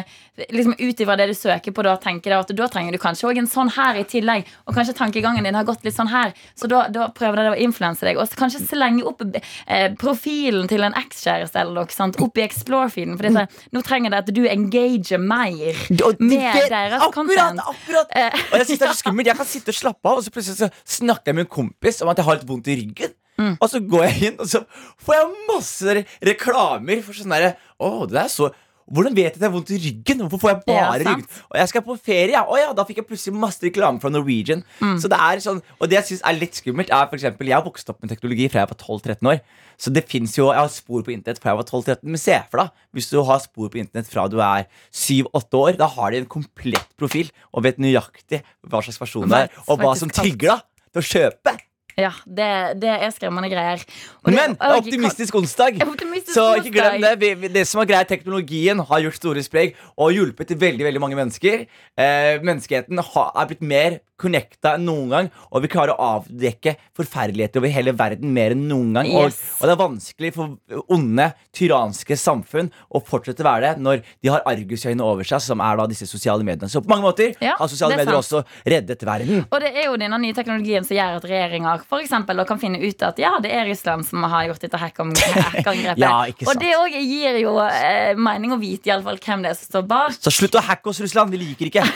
C: liksom ut ifra det du søker på, da tenker de at da trenger du kanskje òg en sånn her i tillegg. Og kanskje tankegangen din har gått litt sånn her, så da, da prøver de å influense deg. Og så kanskje slenge opp eh, profilen til en ekskjæreste eller noe sånt opp i Explore-feeden. For det er sånn, nå trenger de at du engager mer
D: Og de
C: med
D: vet-
C: deres
D: akkurat,
C: content.
D: akkurat.
C: Eh,
D: Og jeg synes det er så skummelt Jeg kan sitte og slappe av, og så plutselig så snakker jeg med en kompis om at jeg har litt vondt i ryggen.
C: Mm.
D: Og så går jeg inn, og så får jeg masse re- reklamer for sånn derre Å, det der er så hvordan vet jeg at jeg har vondt i ryggen? Hvorfor får jeg
C: Ja,
D: bare
C: sant.
D: ryggen? Og jeg skal på ferie, ja. Å ja, da fikk jeg plutselig masse reklame fra Norwegian. Så det er sånn, Og det jeg syns er litt skummelt, er for eksempel Jeg har vokst opp med teknologi fra jeg var 12-13 år. Så det finnes jo, jeg har spor på internett fra jeg var 12-13. Men se for deg, hvis du har spor på internett fra du er 7-8 år, da har de en komplett profil og vet nøyaktig hva slags person du er,
C: Vet
D: og hva
C: faktisk
D: som
C: alt.
D: trigger deg til å kjøpe.
C: Ja, det, det er skremmende greier. Og det-
D: Men det er
C: og-
D: optimistisk onsdag.
C: Optimistisk
D: Så ikke glem det.
C: onsdag.
D: Vi, vi, det som er greit, Teknologien har gjort store sprek og hjulpet til veldig veldig mange mennesker. Eh, menneskeheten ha, er blitt mer connecta enn noen gang, og vi klarer å avdekke forferdeligheter over hele verden mer enn noen gang.
C: Yes.
D: Og, og det er vanskelig for onde, tyranske samfunn å fortsette å være det når de har argusøyne over seg, som er da disse sosiale mediene. Så på mange måter
C: Ja,
D: har sosiale
C: det er
D: medier også reddet verden.
C: Og det er jo denne nye teknologien som gjør at regjeringer for eksempel, da kan finne ut at ja, det er Russland som har gjort dette hackom- hackangrepet.
D: Ja, ikke sant.
C: og det òg gir jo eh, mening å vite i alle fall hvem det er som står bak.
D: Så slutt å hacke oss, Russland. Vi liker ikke.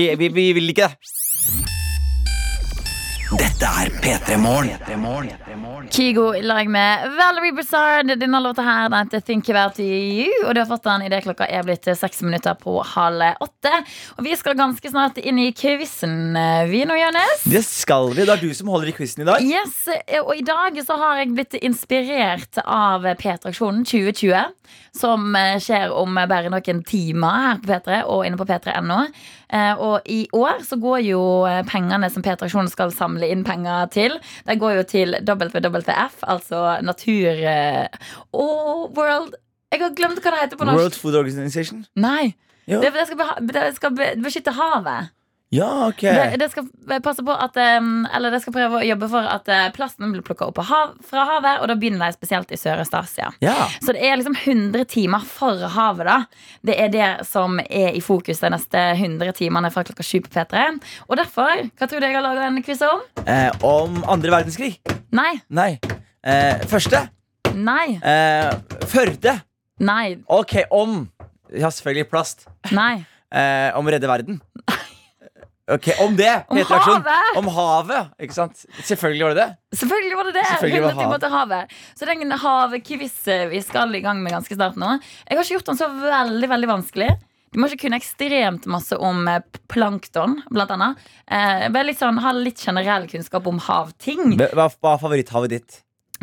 D: Vi, vi, vi vil ikke det.
F: Dette er P3 Morgen.
C: Kygo i lag med Valerie Brizard. Denne låta her den heter Think About You. Og du har fått den idet klokka er blitt eh, seks minutter på halv åtte. Og vi skal ganske snart inn i quizen, eh, vi nå, Jonis.
D: Det skal vi. Det er du som holder i quizen i dag.
C: Yes, eh, og i dag så har jeg blitt inspirert av P3-aksjonen 2020. Som eh, skjer om bare noen timer her på P3 og inne på p3.no. Eh, Og i år så går jo eh, pengene som P3-aksjonen skal samle inn penger til, de går jo til WWF, altså Natur... eh, Og World Jeg har glemt hva det heter på norsk.
D: World Food Organization.
C: Nei.
D: Ja.
C: Det, det skal, beha- det skal be- beskytte havet.
D: Ja, ok.
C: Det, det skal passe på at em, Eller det skal prøve å jobbe for at eh, plasten blir plukka opp av hav, fra havet, og da begynner de spesielt i Sørøst-Asia.
D: Ja.
C: Så det er liksom 100 timer for havet, da. Det er det som er i fokus de neste 100 timene fra klokka 7 på P3. Og derfor, hva tror du jeg har laga en quiz om?
D: Eh, om andre verdenskrig?
C: Nei,
D: Nei. Eh, første?
C: nei,
D: Eh, Førde.
C: nei,
D: Ok, om Ja, selvfølgelig plast.
C: nei.
D: Eh, om å redde verden. Ok, Om det!
C: Om
D: Peter Aksjon.
C: havet!
D: Om havet! Ikke sant? Selvfølgelig var det det.
C: Selvfølgelig var det det!
D: Selvfølgelig var
C: 100 timer
D: hav.
C: til havet. Så den havquiz vi skal i gang med ganske snart nå Jeg har ikke gjort den så veldig veldig vanskelig. Du må ikke kunne ekstremt masse om eh, plankton, blant annet. Eh, bare litt sånn, ha litt generell kunnskap om havting.
D: Hva- Hva hva er favoritthavet ditt?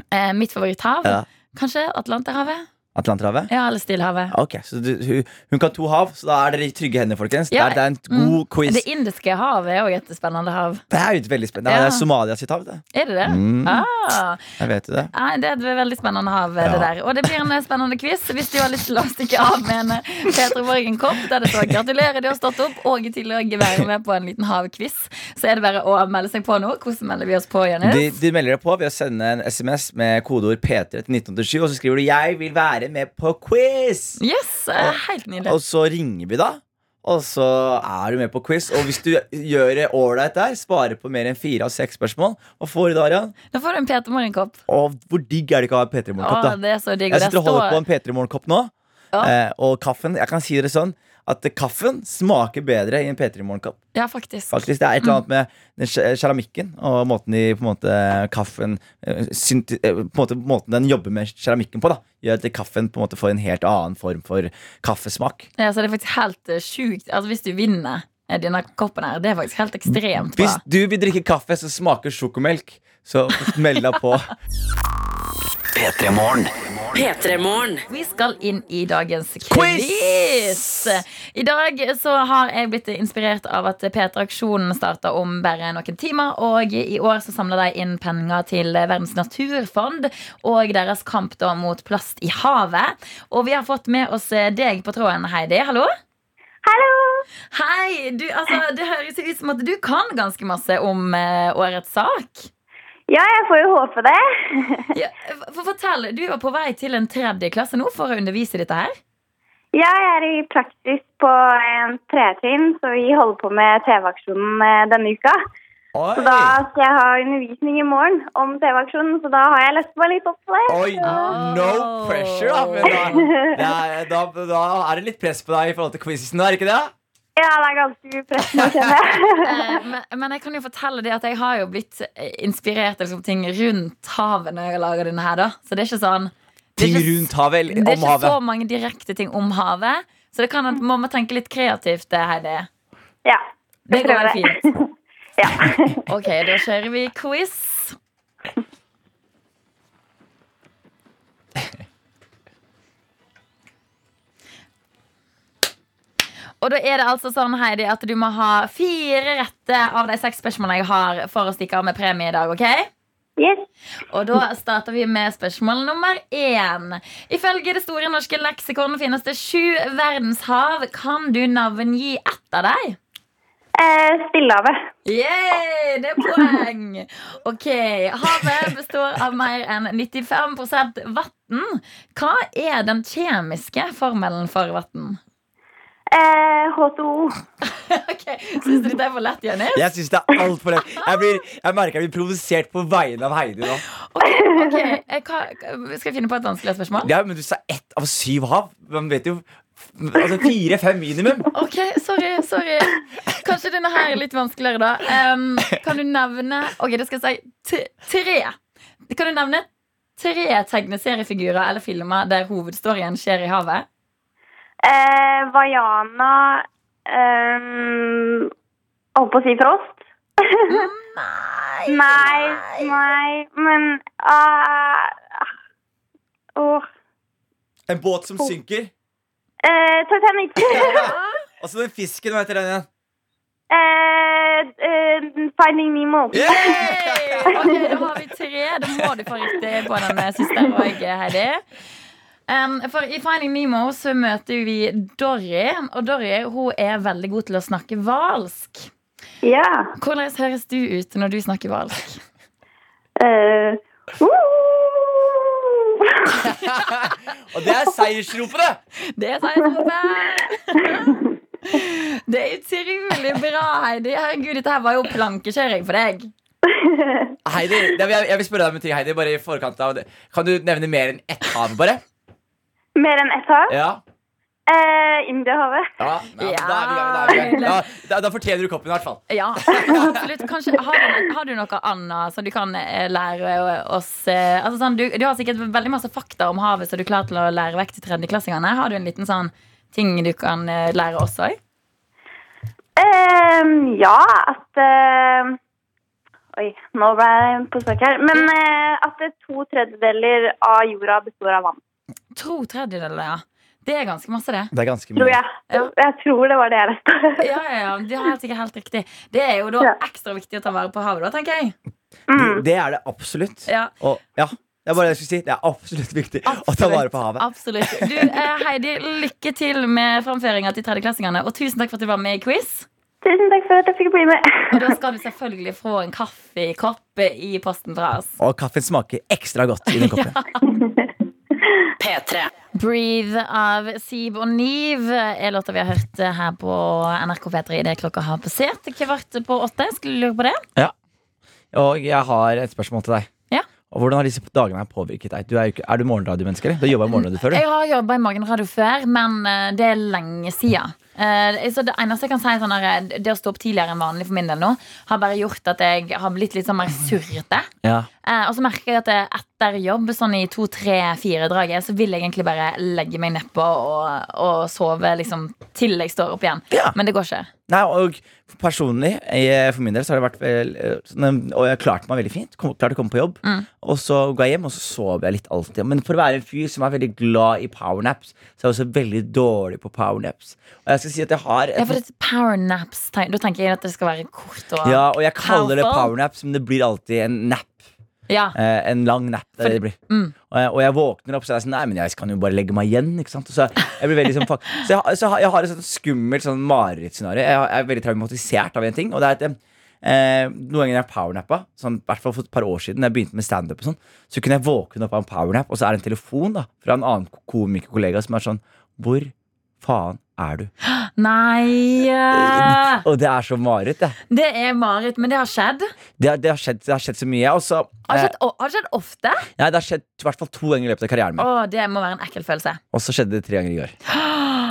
C: Eh, mitt favoritthav?
D: Ja.
C: Kanskje Atlanterhavet?
D: Atlanterhavet?
C: Ja, eller Stillehavet.
D: Ok, så du, hun, hun kan to hav, så da er dere i trygge hender, folkens.
C: Ja, Mm.
D: Det, er, det er en god quiz.
C: Det indiske havet er òg et spennende hav.
D: Det er jo veldig spennende. Det
C: Ja.
D: er Somalia sitt hav, det.
C: Er det det?
D: Mm.
C: Ah.
D: Jeg vet jo det.
C: Nei, Det er et veldig spennende hav.
D: Ja.
C: det der Og det blir en spennende quiz. Hvis du har lyst til å stikke av med en eh, Peter Morgen-kopp, der det står 'Gratulerer, du har stått opp', og i tillegg være med på en liten havquiz, så er det bare å melde seg på nå. Hvordan melder vi oss på, Jonis?
D: De, de melder deg på ved å sende en SMS med kodeord P3 til 1987, og så skriver du 'Jeg vil være med på quiz'.
C: Yes, eh, Helt nydelig.
D: Og så ringer vi, da. Og så er du med på quiz. Og hvis du gjør det ålreit der, sparer på mer enn fire av seks spørsmål, hva får du da, Arian?
C: Da får du en Peter Morgen-kopp.
D: Og hvor digg er det ikke å ha P3 Morgenkopp,
C: Å,
D: da?
C: det er så digg. og
D: Jeg
C: det
D: sitter og holder på en
C: står-
D: P3 Morgenkopp nå.
C: Ja.
D: Eh, og kaffen Jeg kan si dere sånn at kaffen smaker bedre i en P3 Morgenkopp.
C: Ja, faktisk.
D: Faktisk, Det er et eller annet med den sj- keramikken og måten de på en måte kaffen eh, synti- eh, på en måte, Måten den jobber med keramikken på, da gjør at kaffen på en måte får en helt annen form for kaffesmak.
C: Ja, så det er faktisk helt eh, sjukt. Altså, hvis du vinner eh, denne koppen her, det er faktisk helt ekstremt bra.
D: Hvis du vil drikke kaffe som smaker sjokomelk, så meld deg på.
F: P3 Morgen.
G: P3-morgen.
C: Vi skal inn i dagens quiz. I dag så har jeg blitt inspirert av at P3-aksjonen starta om bare noen timer. Og i år så samla de inn penger til Verdens naturfond og deres kamp da mot plast i havet. Og vi har fått med oss deg på tråden, Heidi. Hallo?
H: Hallo!
C: Hei! Du, altså, det høres jo ut som at du kan ganske masse om eh, årets sak.
H: Ja, jeg får jo håpe det.
C: Ja, for fortell, Du var på vei til en tredje klasse nå for å undervise i dette her.
H: Ja, jeg er i praksis på en tretrim, så vi holder på med TV-aksjonen eh, denne uka. Så da
D: Oi,
H: skal jeg ha undervisning i morgen om TV-aksjonen, så da har jeg lest meg litt opp på det.
D: Oi no pressure, da. Men da, det er, da, da er det litt press på deg i forhold til quizen, er det ikke det?
H: Ja, det er ganske upressende, kjenner jeg.
C: Eh, men, men jeg kan jo fortelle det at jeg har jo blitt eh, inspirert av liksom, ting rundt havet når jeg lager denne her, da. Så det er ikke sånn det er
D: Ting
C: ikke-
D: rundt havet eller
C: Det er
D: om
C: ikke så
D: havet.
C: mange direkte ting om havet. Så det kan at man må tenke litt kreativt, eh, Heidi.
H: Ja,
C: Det
H: jeg
C: går
H: prøver
C: veldig
H: det.
C: fint.
H: Ja.
C: Ok, da kjører vi quiz. Og da er det altså sånn, Heidi, at du må ha fire rette av de seks spørsmålene jeg har for å stikke av med premie i dag, ok?
H: Yes.
C: Og da starter vi med spørsmål nummer én. Ifølge Det store norske leksikon finnes det sju verdenshav. Kan du navngi ett av dem?
H: Eh, Stillehavet.
C: Yay, det er poeng! Ok, Havet består av mer enn 95 vann. Hva er den kjemiske formelen for vann?
H: Eh, H2O.
C: Ok, Syns du dette er for lett, Jenny?
D: Jeg syns det er altfor lett. Jeg, blir, jeg merker jeg blir provosert på vegne av Heidi nå.
C: Ok, ok, eh, hva, Skal jeg finne på et vanskelig spørsmål?
D: Ja, men du sa ett av syv hav. Man vet jo Altså fire-fem minimum.
C: Ok, sorry, sorry. Kanskje denne her er litt vanskeligere, da. Em, kan du nevne Ok, det skal jeg si t- tre. Kan du nevne tre tegneseriefigurer eller filmer der hovedstoryen skjer i havet?
H: Eh, Vaiana ehm, Holdt på å si Frost. nei, nei, men ah, åh.
D: En båt som synker.
H: Eh, Titanic.
D: Og så Altså, den fisken, hva heter den igjen?
H: eh, eh, Finding Nemo.
D: Yeah!
C: Hey! Ok, da har vi tre. Da må du få riktig på den siste òg, Heidi. Em, for I Finding Nemo så møter vi Dorry, og Dorry hun er veldig god til å snakke hvalsk.
H: Ja.
C: Hvordan høres du ut når du snakker hvalsk?
H: Eh, woo!
D: Og det er seiersropene!
C: Det sa jeg som fan. Det er utrolig bra, Heidi. Herregud, dette her var jo plankekjøring for deg.
D: Heidi, det, jeg, jeg vil spørre deg om en ting, Heidi. Bare i forkant av det. Kan du nevne mer enn ett hav, bare?
H: Mer enn ett hav?
D: Ja.
H: Eh, Indiahavet.
D: ja. ja,
C: Ja.
D: Da, er vi i gang, da, er vi i gang. ja da, da fortjener du koppen, i hvert fall.
C: Ja, absolutt. Kanskje, har, du, har du noe annet som du kan eh, lære oss? eh, Altså, sånn, du, du har sikkert veldig masse fakta om havet, så du er klar til å lære vekk til tredjeklassingene. Har du en liten sånn ting du kan eh, lære oss òg?
H: Ehm, ja, at eh, Oi, nå ble jeg på søk her.
C: Mm.
H: Men eh, at det to tredjedeler av jorda består av vann.
C: To tredjedeler, ja. Det er ganske masse, det.
D: Det er ganske
H: Tror jeg.
C: Ja.
H: Jeg tror det var det jeg leste.
C: Ja, ja, ja. Det har jeg sikkert helt riktig. Det er jo da
H: Ja.
C: ekstra viktig å ta vare på havet, da, tenker jeg.
H: Mm.
D: Det er det absolutt.
C: Ja.
D: Og ja, det er bare det jeg skulle si. Det er absolutt viktig å ta vare på havet.
C: Absolutt. Du, eh, Heidi, lykke til med framføringa til tredjeklassingene. Og tusen takk for at du var med i quiz.
H: Tusen takk for at jeg fikk bli med.
C: Og da skal du selvfølgelig få en kaffekopp i posten fra oss.
D: Og kaffen smaker ekstra godt i den koppen.
A: P3.
C: Breathe av Sib og Niv er låta vi har hørt her på NRK P3 idet klokka har passert kvart på åtte. Skulle du lure på det?
D: Og jeg har et spørsmål til deg.
C: Ja.
D: Og Hvordan har disse dagene her påvirket deg? Du er, jo ikke- er du morgenradiomenneske? eller? Du har jobbet i morgenradio før, du?
C: Jeg har jobba i Morgenradio før, men eh, det er lenge sida. Eh, så det eneste jeg kan si er sånn her, eh, Det å stå opp tidligere enn vanlig for min del nå har bare gjort at jeg har blitt litt sånn mer surrete.
D: Ja.
C: Eh, og så merker jeg at eh, etter jobb, sånn i to, tre, fire draget, så vil jeg egentlig bare legge meg nedpå og, og sove liksom til jeg står opp igjen.
D: Ja.
C: Men det går ikke.
D: Nei, og personlig, jeg, for min del, så har det vært vel, eh, sånn, Og jeg klarte meg veldig fint. Kom, klarte å komme på jobb.
C: Mm.
D: Og så går jeg hjem, og så sover jeg litt alltid. Men for å være en fyr som er veldig glad i powernaps, så er jeg også veldig dårlig på powernaps. Og jeg skal si at jeg har et
C: Ja, for det er powernaps. tenk- Da tenker jeg at det skal være kort og
D: Ja, og jeg kaller det
C: Powerful.
D: powernaps, men det blir alltid en nap.
C: Ja.
D: Eh, en lang nap. Det er det det blir.
C: Mm.
D: Og, jeg, og jeg våkner opp, så er jeg sånn Nei, men jeg kan jo bare legge meg igjen. Ikke sant? Og Så jeg blir veldig sånn fuck. Så jeg, har- så har- jeg har et sånt skummelt sånn marerittscenario. Jeg, har- jeg er veldig traumatisert av en ting. Og det er at eh, eh, noen ganger jeg powernappa, sånn, i hvert fall for et par år siden, da jeg begynte med standup, og sånn, så kunne jeg våkne opp av en powernap, og så er det en telefon da fra en annen ko- komikerkollega som er sånn Hvor faen er du?
C: Nei eh,
D: Og det er så mareritt, det.
C: Det er mareritt, men det har skjedd.
D: Det, har- det, har, skjedd, det har skjedd så mye. Og så
C: Har
D: eh,
C: skjedd, o- har skjedd ofte.
D: Nei, det har skjedd i hvert fall to ganger i løpet av karrieren min.
C: Å, det må være en ekkel følelse.
D: Og så skjedde det tre ganger i går.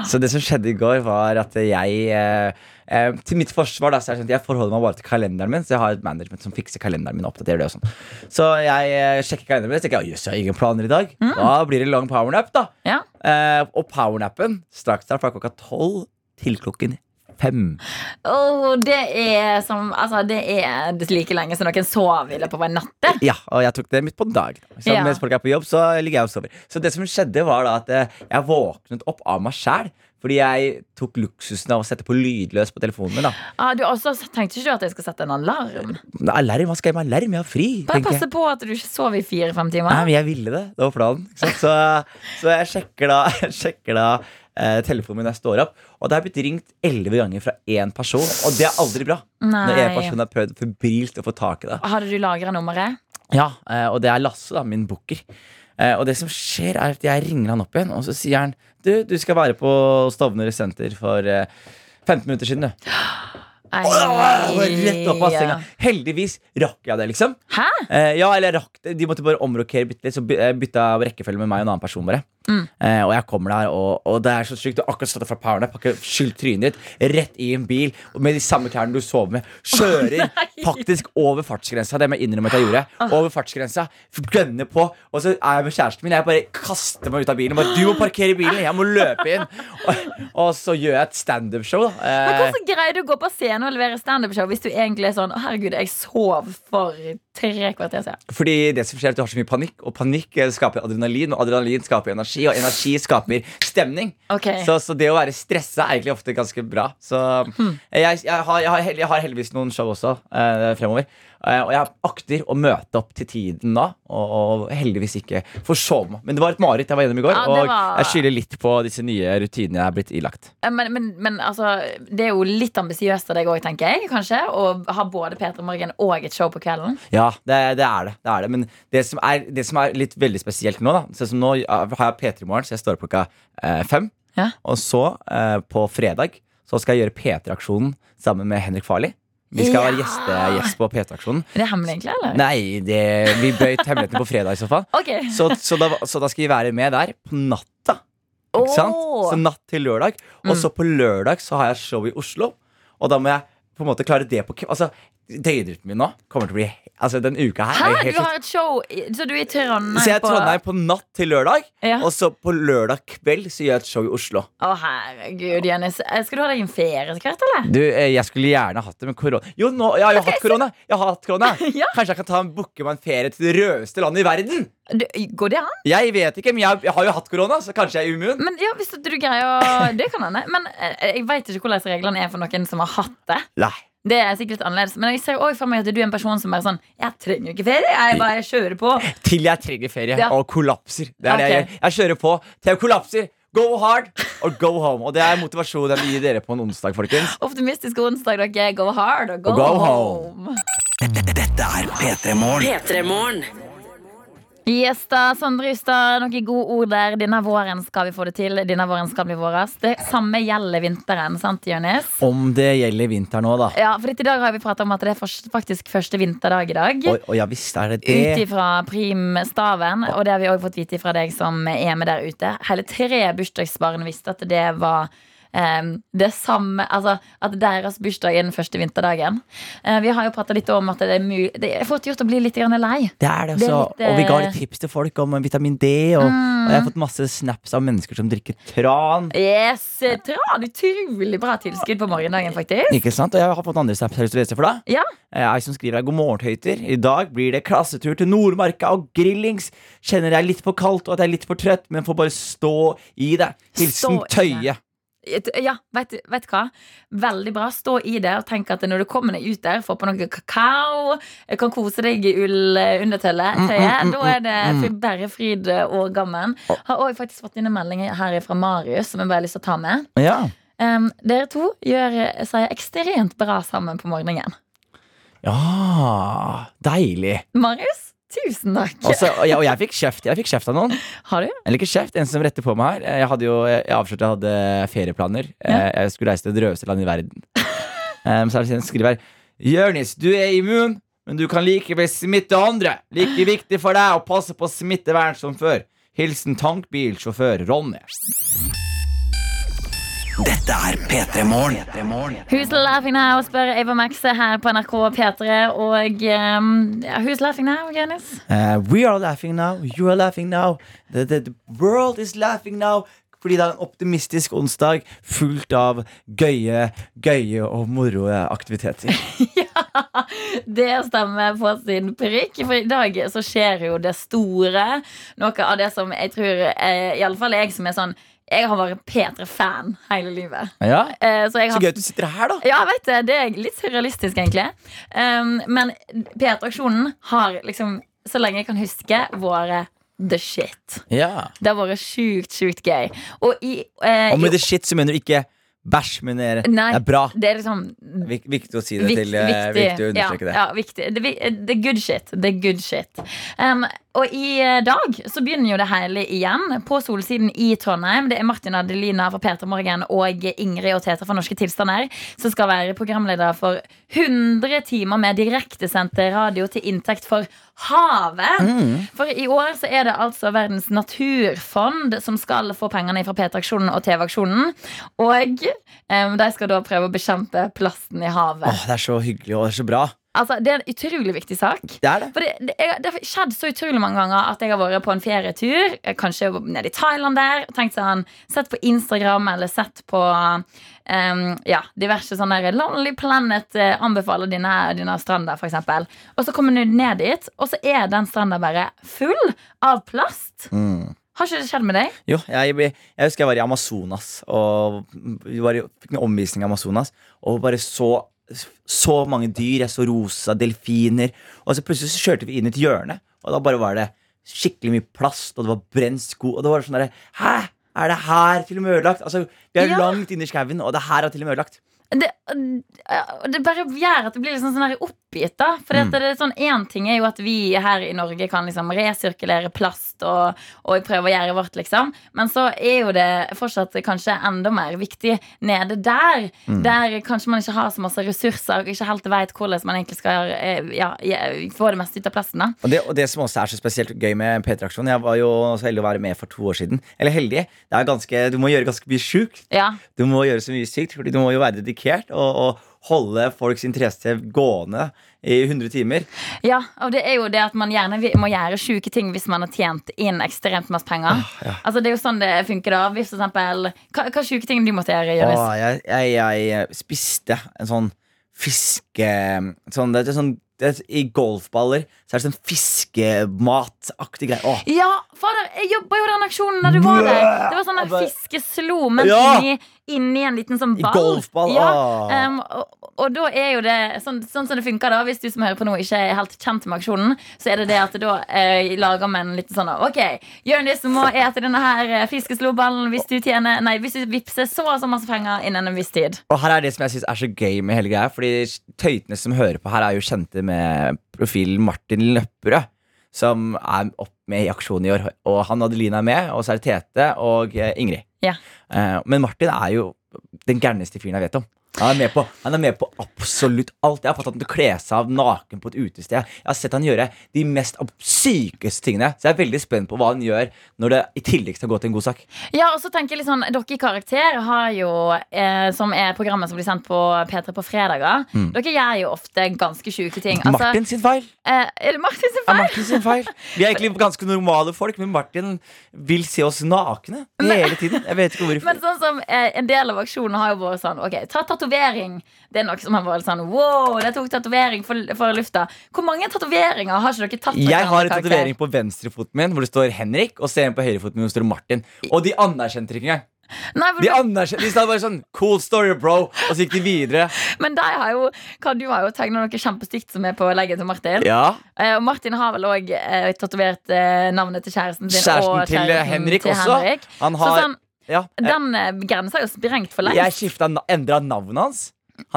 D: Så det som skjedde i går, var at jeg eh, eh, Til mitt forsvar, da, så er det sånn at jeg forholder meg bare til kalenderen min. Så jeg har et management som fikser kalenderen min og oppdaterer det og sånn. Så jeg eh, sjekker kalenderen min og tenker jøss, jeg har ingen planer i dag. Da blir det lang powernap, da.
C: Ja.
D: Eh, og powernappen straks der fra klokka tolv til klokken fem.
C: Å, det er som Altså, det er like lenge som noen sov i løpet av en natt. det.
D: Ja, og jeg tok det midt på dagen. Så
C: Ja.
D: Mens folk er på jobb, så ligger jeg og sover. Så det som skjedde, var da at eh, jeg våknet opp av meg sjæl. Fordi jeg tok luksusen av å sette på lydløs på telefonen min. da
C: Ah, du også tenkte ikke du at jeg skal sette en alarm?
D: Men Alarm, hva skal jeg med alarm? Jeg har fri.
C: Bare
D: tenker jeg.
C: passe på at du ikke sover i fire-fem
D: Nei,
C: timer.
D: men jeg ville det. Det var planen. Ikke sant? Så, så jeg sjekker da, jeg sjekker da eh, telefonen min når jeg står opp. Og det har blitt ringt elleve ganger fra én person, og det er aldri bra. Når én
C: Nei.
D: person har prøvd febrilt å få tak i det.
C: Hadde du lagra nummeret?
D: Ja, eh, og det er Lasse, da, min booker. Eh, Og det som skjer, er at jeg ringer han opp igjen, og så sier han Du, du skal være på Stovner senter for eh, 15 minutter siden, du.
C: Nei.
D: Åh, jeg var Rett opp av senga. Heldigvis rakk jeg det, liksom.
C: Hæ?
D: Eh, Ja, eller jeg rakk det. De måtte bare omrokere bitte litt, så by- eh, bytta rekkefølge med meg og en annen person, bare.
C: Mm.
D: Eh, og jeg kommer der, og, og det er så sykt. Du har akkurat stått opp fra powernap, har ikke skylt trynet ditt, rett i en bil og med de samme klærne du sov med. Kjører faktisk over fartsgrensa. Det må jeg innrømme at jeg gjorde. Over fartsgrensa. Gønner på. Og så er jeg med kjæresten min. Jeg bare kaster meg ut av bilen. og Bare, du må parkere bilen, jeg må løpe inn. Og, og så gjør jeg et standup-show, da.
C: Men
D: Eh,
C: Hvordan greier du å gå på scenen og levere standup-show hvis du egentlig er sånn «Å, Herregud, jeg sov for tre kvarter siden.
D: Fordi det som skjer er at du har så mye panikk, og panikk eh, skaper adrenalin, og adrenalin skaper energi, og energi skaper stemning.
C: Ok.
D: Så, så det å være stressa er egentlig ofte ganske bra. Så
C: Hmm.
D: eh, jeg, jeg, har, jeg, har, hel- jeg har heldigvis noen show også eh, fremover. Eh, og jeg akter å møte opp til tiden da, og, og heldigvis ikke forsove meg. Men det var et mareritt jeg var gjennom i går,
C: Ja, det
D: og
C: var-
D: jeg skylder litt på disse nye rutinene jeg er blitt ilagt.
C: Eh, Men, men, men altså, det er jo litt ambisiøst av deg òg, tenker jeg. kanskje Å ha både P3 Morgen og et show på kvelden.
D: Ja, det, det er det. det er det Men det som er, det som er litt veldig spesielt nå, da Sånn som nå ja, har jeg P3 i morgen, så jeg står opp klokka eh, fem.
C: Ja.
D: Og så, eh, på fredag, så skal jeg gjøre P3-aksjonen sammen med Henrik Farli. Vi skal være
C: Ja.
D: gjestegjest på P3-aksjonen.
C: Er det hemmelig, egentlig? eller?
D: Nei, det, vi bøyt hemmeligheten på fredag i så fall.
C: Ok.
D: Så, så, da, så da skal vi være med der på natta. Ikke sant?
C: Åh. Mm.
D: Så natt til lørdag. Og så på lørdag så har jeg show i Oslo. Og da må jeg på en måte klare det på kve- Altså, Døgnrytmen min nå kommer til å bli Altså, den uka her er
C: Hæ?
D: helt
C: Du har et show i- Så du er i Trondheim?
D: Så jeg er i
C: på-
D: Trondheim på natt til lørdag,
C: Ja.
D: og så på lørdag kveld så gjør jeg et show i Oslo.
C: Å, herregud, Janice. Eh, Skal du ha deg en ferie etter hvert, eller?
D: Du, eh, Jeg skulle gjerne hatt det, men korona Jo, nå, jeg har jo hatt korona! Jeg har hatt korona
C: Ja.
D: Kanskje jeg kan ta en booke meg en ferie til det rødeste landet i verden?
C: Du, går det an?
D: Jeg vet ikke, men jeg, jeg har jo hatt korona, så kanskje jeg er immun.
C: Men ja, hvis du greier å Det kan hende. Men eh, jeg veit ikke hvordan reglene er for noen som har hatt det.
D: Nei
C: Det er sikkert litt annerledes Men jeg ser også for meg at du er en person som bare sånn Jeg trenger jo ikke ferie, jeg bare kjører på.
D: Til jeg trenger ferie
C: Ja.
D: og kollapser. Det er det jeg
C: Ok.
D: gjør. Jeg kjører på til jeg kollapser. Go hard or go home. Og det er motivasjonen jeg vil gi dere på en onsdag, folkens.
C: Optimistisk onsdag, dere. Go hard og go,
D: Og go
C: home.
F: Dette er P3 Morgen.
G: P3morgen.
C: Yes da, Sondre Justad, noen gode ord der. Denne våren skal vi få det til. Denne våren skal bli våres. Det samme gjelder vinteren, sant, Jonis?
D: Om det gjelder vinter nå, da.
C: Ja, for i dag har vi pratet om at det er først- faktisk første vinterdag i dag.
D: Og, og ja visst er det
C: Ut
D: det.
C: ifra primstaven, og det har vi òg fått vite fra deg som er med der ute. Hele tre bursdagsbarn visste at det var em, det samme Altså at deres bursdag er den første vinterdagen. Eh, vi har jo prata litt om at det er, mu det er fort gjort å bli litt grann lei.
D: Det er det
C: Det er
D: også.
C: litt,
D: Og vi ga
C: eh, Mm.
D: litt tips til folk om vitamin D. Og, og jeg har fått masse snaps av mennesker som drikker tran.
C: Yes, Tran! Utrolig bra tilskudd på morgendagen, faktisk.
D: Ikke sant? Og jeg har fått andre snaps. Har du lyst til å lese for deg?
C: Ja,
D: Eh, Ei som skriver her God morgen, tøyter. I dag blir det klassetur til Nordmarka og grillings. Kjenner det er litt for kaldt og at jeg er litt for trøtt, men får bare stå i det. Hilsen
C: Stå i det.
D: Tøye.
C: Et- ja vet, du- vet du hva? Veldig bra. Stå i det og tenk at når du kommer deg ut der, få på noe kakao, kan kose deg i ullundertøyet. tøyet, Da er det fri- bare fryd og gammen. Har også faktisk fått inn en melding her fra Marius som jeg bare har lyst til å ta med.
D: Ja.
C: Um, dere to gjør seg ekstremt bra sammen på morgenen.
D: ja deilig.
C: Marius, tusen takk.
D: Og så- og jeg, og jeg fikk kjeft. Jeg fikk kjeft av noen.
C: Har du?
D: Eller ikke kjeft, en som retter på meg her. Jeg hadde jo, jeg avslørte jeg hadde ferieplaner. Eh, Jeg skulle reise til det rødeste landet i verden. Em, Så er det en som skriver her Jørnis, du er immun, men du kan likevel smitte andre. Like viktig for deg å passe på smittevern som før. Hilsen tankbilsjåfør Ronny.
F: Dette er P3 Morgen.
C: Who's laughing now? spør Eva Maxe her på NRK P3. Og um, ja, who's laughing now, Jonis?
D: Eh, we are laughing now, you are laughing now the, the, the world is laughing now Fordi det er en optimistisk onsdag Fullt av gøye, gøye og moro eh, aktiviteter
C: Det stemmer på sin prikk. For i dag så skjer jo det store. Noe av det som jeg tror eh, Iallfall jeg som er sånn Jeg har vært P3-fan hele livet.
D: Ja,
C: Eh, så jeg
D: så
C: har
D: gøy at du sitter her da
C: ja, jeg vet det. Det er litt surrealistisk, egentlig. Um, men P3-aksjonen har liksom, så lenge jeg kan huske, vært the shit.
D: Ja
C: Det har vært sjukt, sjukt gøy. Og i, eh,
D: Og med
C: i
D: det shit så mener du ikke bæsj, men det er,
C: Nei.
D: det er bra
C: det er liksom
D: Vik, Viktig å si det
C: Vik-
D: til eh, Viktig å
C: ja,
D: understreke det
C: Ja, viktig. Det, vi- det er good shit. Det er good shit. Um, Og i eh, dag så begynner jo det hele igjen på Solsiden i Trondheim. Det er Martin Adelina fra Peter Morgen og Ingrid og Teta fra Norske Tilstander som skal være programleder for 100 timer med direktesendt radio til inntekt for havet.
D: Mm.
C: For i år så er det altså Verdens naturfond som skal få pengene fra PT-aksjonen og TV-aksjonen. Og em, de skal da prøve å bekjempe plasten i havet.
D: Åh, det er så hyggelig og det er så bra.
C: Altså, Det er en utrolig viktig sak.
D: Det er det.
C: For det, det, jeg, det har skjedd så utrolig mange ganger at jeg har vært på en ferietur, eh, kanskje nede i Thailand der, og tenkt sånn, sett på Instagram eller sett på em, ja, diverse sånne der Lonely Planet eh, anbefaler dine, dine stranda, for eksempel. Og så kommer du ned dit, og så er den stranda bare full av plast. Har ikke det skjedd med deg?
D: Jo, jeg, jeg husker jeg var i Amazonas og vi var i, fikk en omvisning i Amazonas. Og bare så så mange dyr. Jeg så rosa delfiner. Og så plutselig så kjørte vi inn i et hjørne, og da bare var det skikkelig mye plast, og det var brent sko. Og det var sånn derre Hæ? Er det her til og med ødelagt? Altså, Vi er
C: Ja.
D: langt inne i skauen, og det her er til og med ødelagt.
C: Det, og det bare gjør at det blir liksom sånn her oppgitt. da For det er sånn, En ting er jo at vi her i Norge kan liksom resirkulere plast og, og prøve å gjøre vårt, liksom. Men så er jo det fortsatt kanskje enda mer viktig nede der. Der kanskje man ikke har så masse ressurser og ikke helt veit hvordan man egentlig skal eh, ja, ja, få det meste ut av plasten. da
D: Og det, og det som også er så spesielt gøy med P3-aksjonen Jeg var jo så heldig å være med for to år siden. Eller heldig. Det er ganske, du må gjøre ganske mye sjukt.
C: Ja,
D: Du må gjøre så mye sykt, fordi du må jo være dedikert og, og holde folks interesse gående i 100 timer.
C: ja, og det er jo det at man gjerne vi- må gjøre sjuke ting hvis man har tjent inn ekstremt masse penger. Altså Det er jo sånn det funker. da Hvis for eksempel, Hva, hva sjuke ting du måtte gjøre?
D: Og
C: Jonis?
D: jeg, jeg, jeg spiste en sånn fiske... Sånn, det er sånn, det er, I golfballer så er det sånn fiskemataktig greie. Åh,
C: Ja, fader, jeg jobba jo i den aksjonen da du var der. Det var sånn der fiskeslo, men
D: Ja.
C: inni, inni en liten sånn
D: I
C: ball.
D: golfball,
C: Ja,
D: ah.
C: em, og, og da er jo det sånn, sånn som det funker da, hvis du som hører på nå ikke er helt kjent med aksjonen, så er det det at da eh, lager man en liten sånn OK, Jonis må ete denne her eh, fiskesloballen hvis du tjener Nei, hvis du vippser så og så masse penger innen en viss tid.
D: Og her er det som jeg synes er så gøy med hele greia Fordi tøytene som hører på her er jo kjente med profilen Martin Løpperød Som er opp med i aksjon i år Og han og Adelina er med, og så er det Tete og eh, Ingrid
C: Ja.
D: Eh, Men Martin er jo den gærneste fyren jeg vet om han er, med på, han er med på absolutt alt Jeg har fått han til å kle seg av naken på et utested Jeg har sett han gjøre de mest ab- sykeste tingene Så jeg er veldig spent på hva han gjør Når det i tillegg skal gå til en god sak
C: Ja, og så tenker jeg litt sånn Dere i Karakter har jo eh, Som er programmet som blir sendt på P3 på fredager. Dere gjør jo ofte ganske sjuke ting. Altså,
D: Mm. Martin sin feil
C: Eh, er det Martin sin
D: er
C: feil?
D: Martin sin feil. Vi er egentlig ganske normale folk, men Martin vil se oss nakne hele tiden. Jeg vet ikke hvorfor.
C: Men sånn som eh, En del av aksjonen har jo vært sånn Ok, ta tatovering. Det er noe som har vært sånn Wow, det tok tatovering for, for lufta. Hvor mange tatoveringer har ikke dere tatt? av
D: Jeg har en
C: hverandre i Karakter?
D: tatovering på venstrefoten min hvor det står Henrik, og ser en på høyrefoten min hvor det står Martin. Og de anerkjente det ikke engang.
C: Nei, for
D: De,
C: du-
D: anerkjente, de sa bare sånn Cool story, bro. Og så gikk de videre.
C: Men de har jo Hva, du har jo tegna noe kjempestygt som er på leggen til Martin.
D: Ja,
C: Eh, og Martin har vel òg eh, tatovert eh, navnet til kjæresten sin.
D: Kjæresten
C: og
D: til eh,
C: kjæresten
D: Henrik
C: til
D: også.
C: Henrik.
D: Han
C: Så
D: har
C: sånn,
D: ja, jeg,
C: den eh, grensa er jo sprengt for
D: jeg
C: lengst.
D: skifta na- endra navnet hans.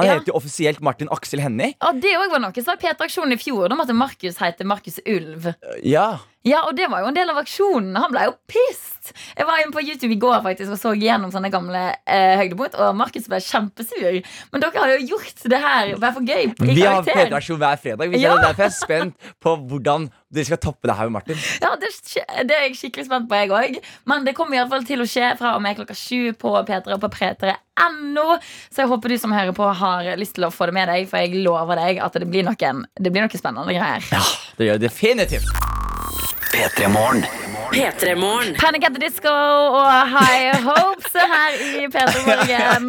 D: Han
C: Ja.
D: heter jo offisielt Martin Aksel Hennie.
C: Og det òg var noe som var P3-aksjonen i fjor, om at Markus heter Markus Ulv.
D: Ja.
C: Ja, og det var jo en del av aksjonen. Han ble jo pissed. Jeg var inne på YouTube i går faktisk og så gjennom sånne gamle eh, høydepunkt, og Markus ble kjempesur. Men dere har jo gjort det her bare for gøy. I
D: Vi har
C: karakter.
D: P3-aksjon hver fredag. Vi
C: Ja.
D: kjenner Derfor er jeg spent på hvordan dere skal toppe det her med Martin.
C: Ja, det, skje- det er jeg skikkelig spent på, jeg òg. Men det kommer i alle fall til å skje fra og med klokka sju på P3 og på p3.no. Så jeg håper du som hører på, har lyst til å få det med deg, for jeg lover deg at det blir noen, det blir noen spennende greier.
D: Det gjør jeg definitivt.
F: P3-morgen.
G: P3-morgen.
C: Panic at the Disco og High Hopes er her i P3 Morgen.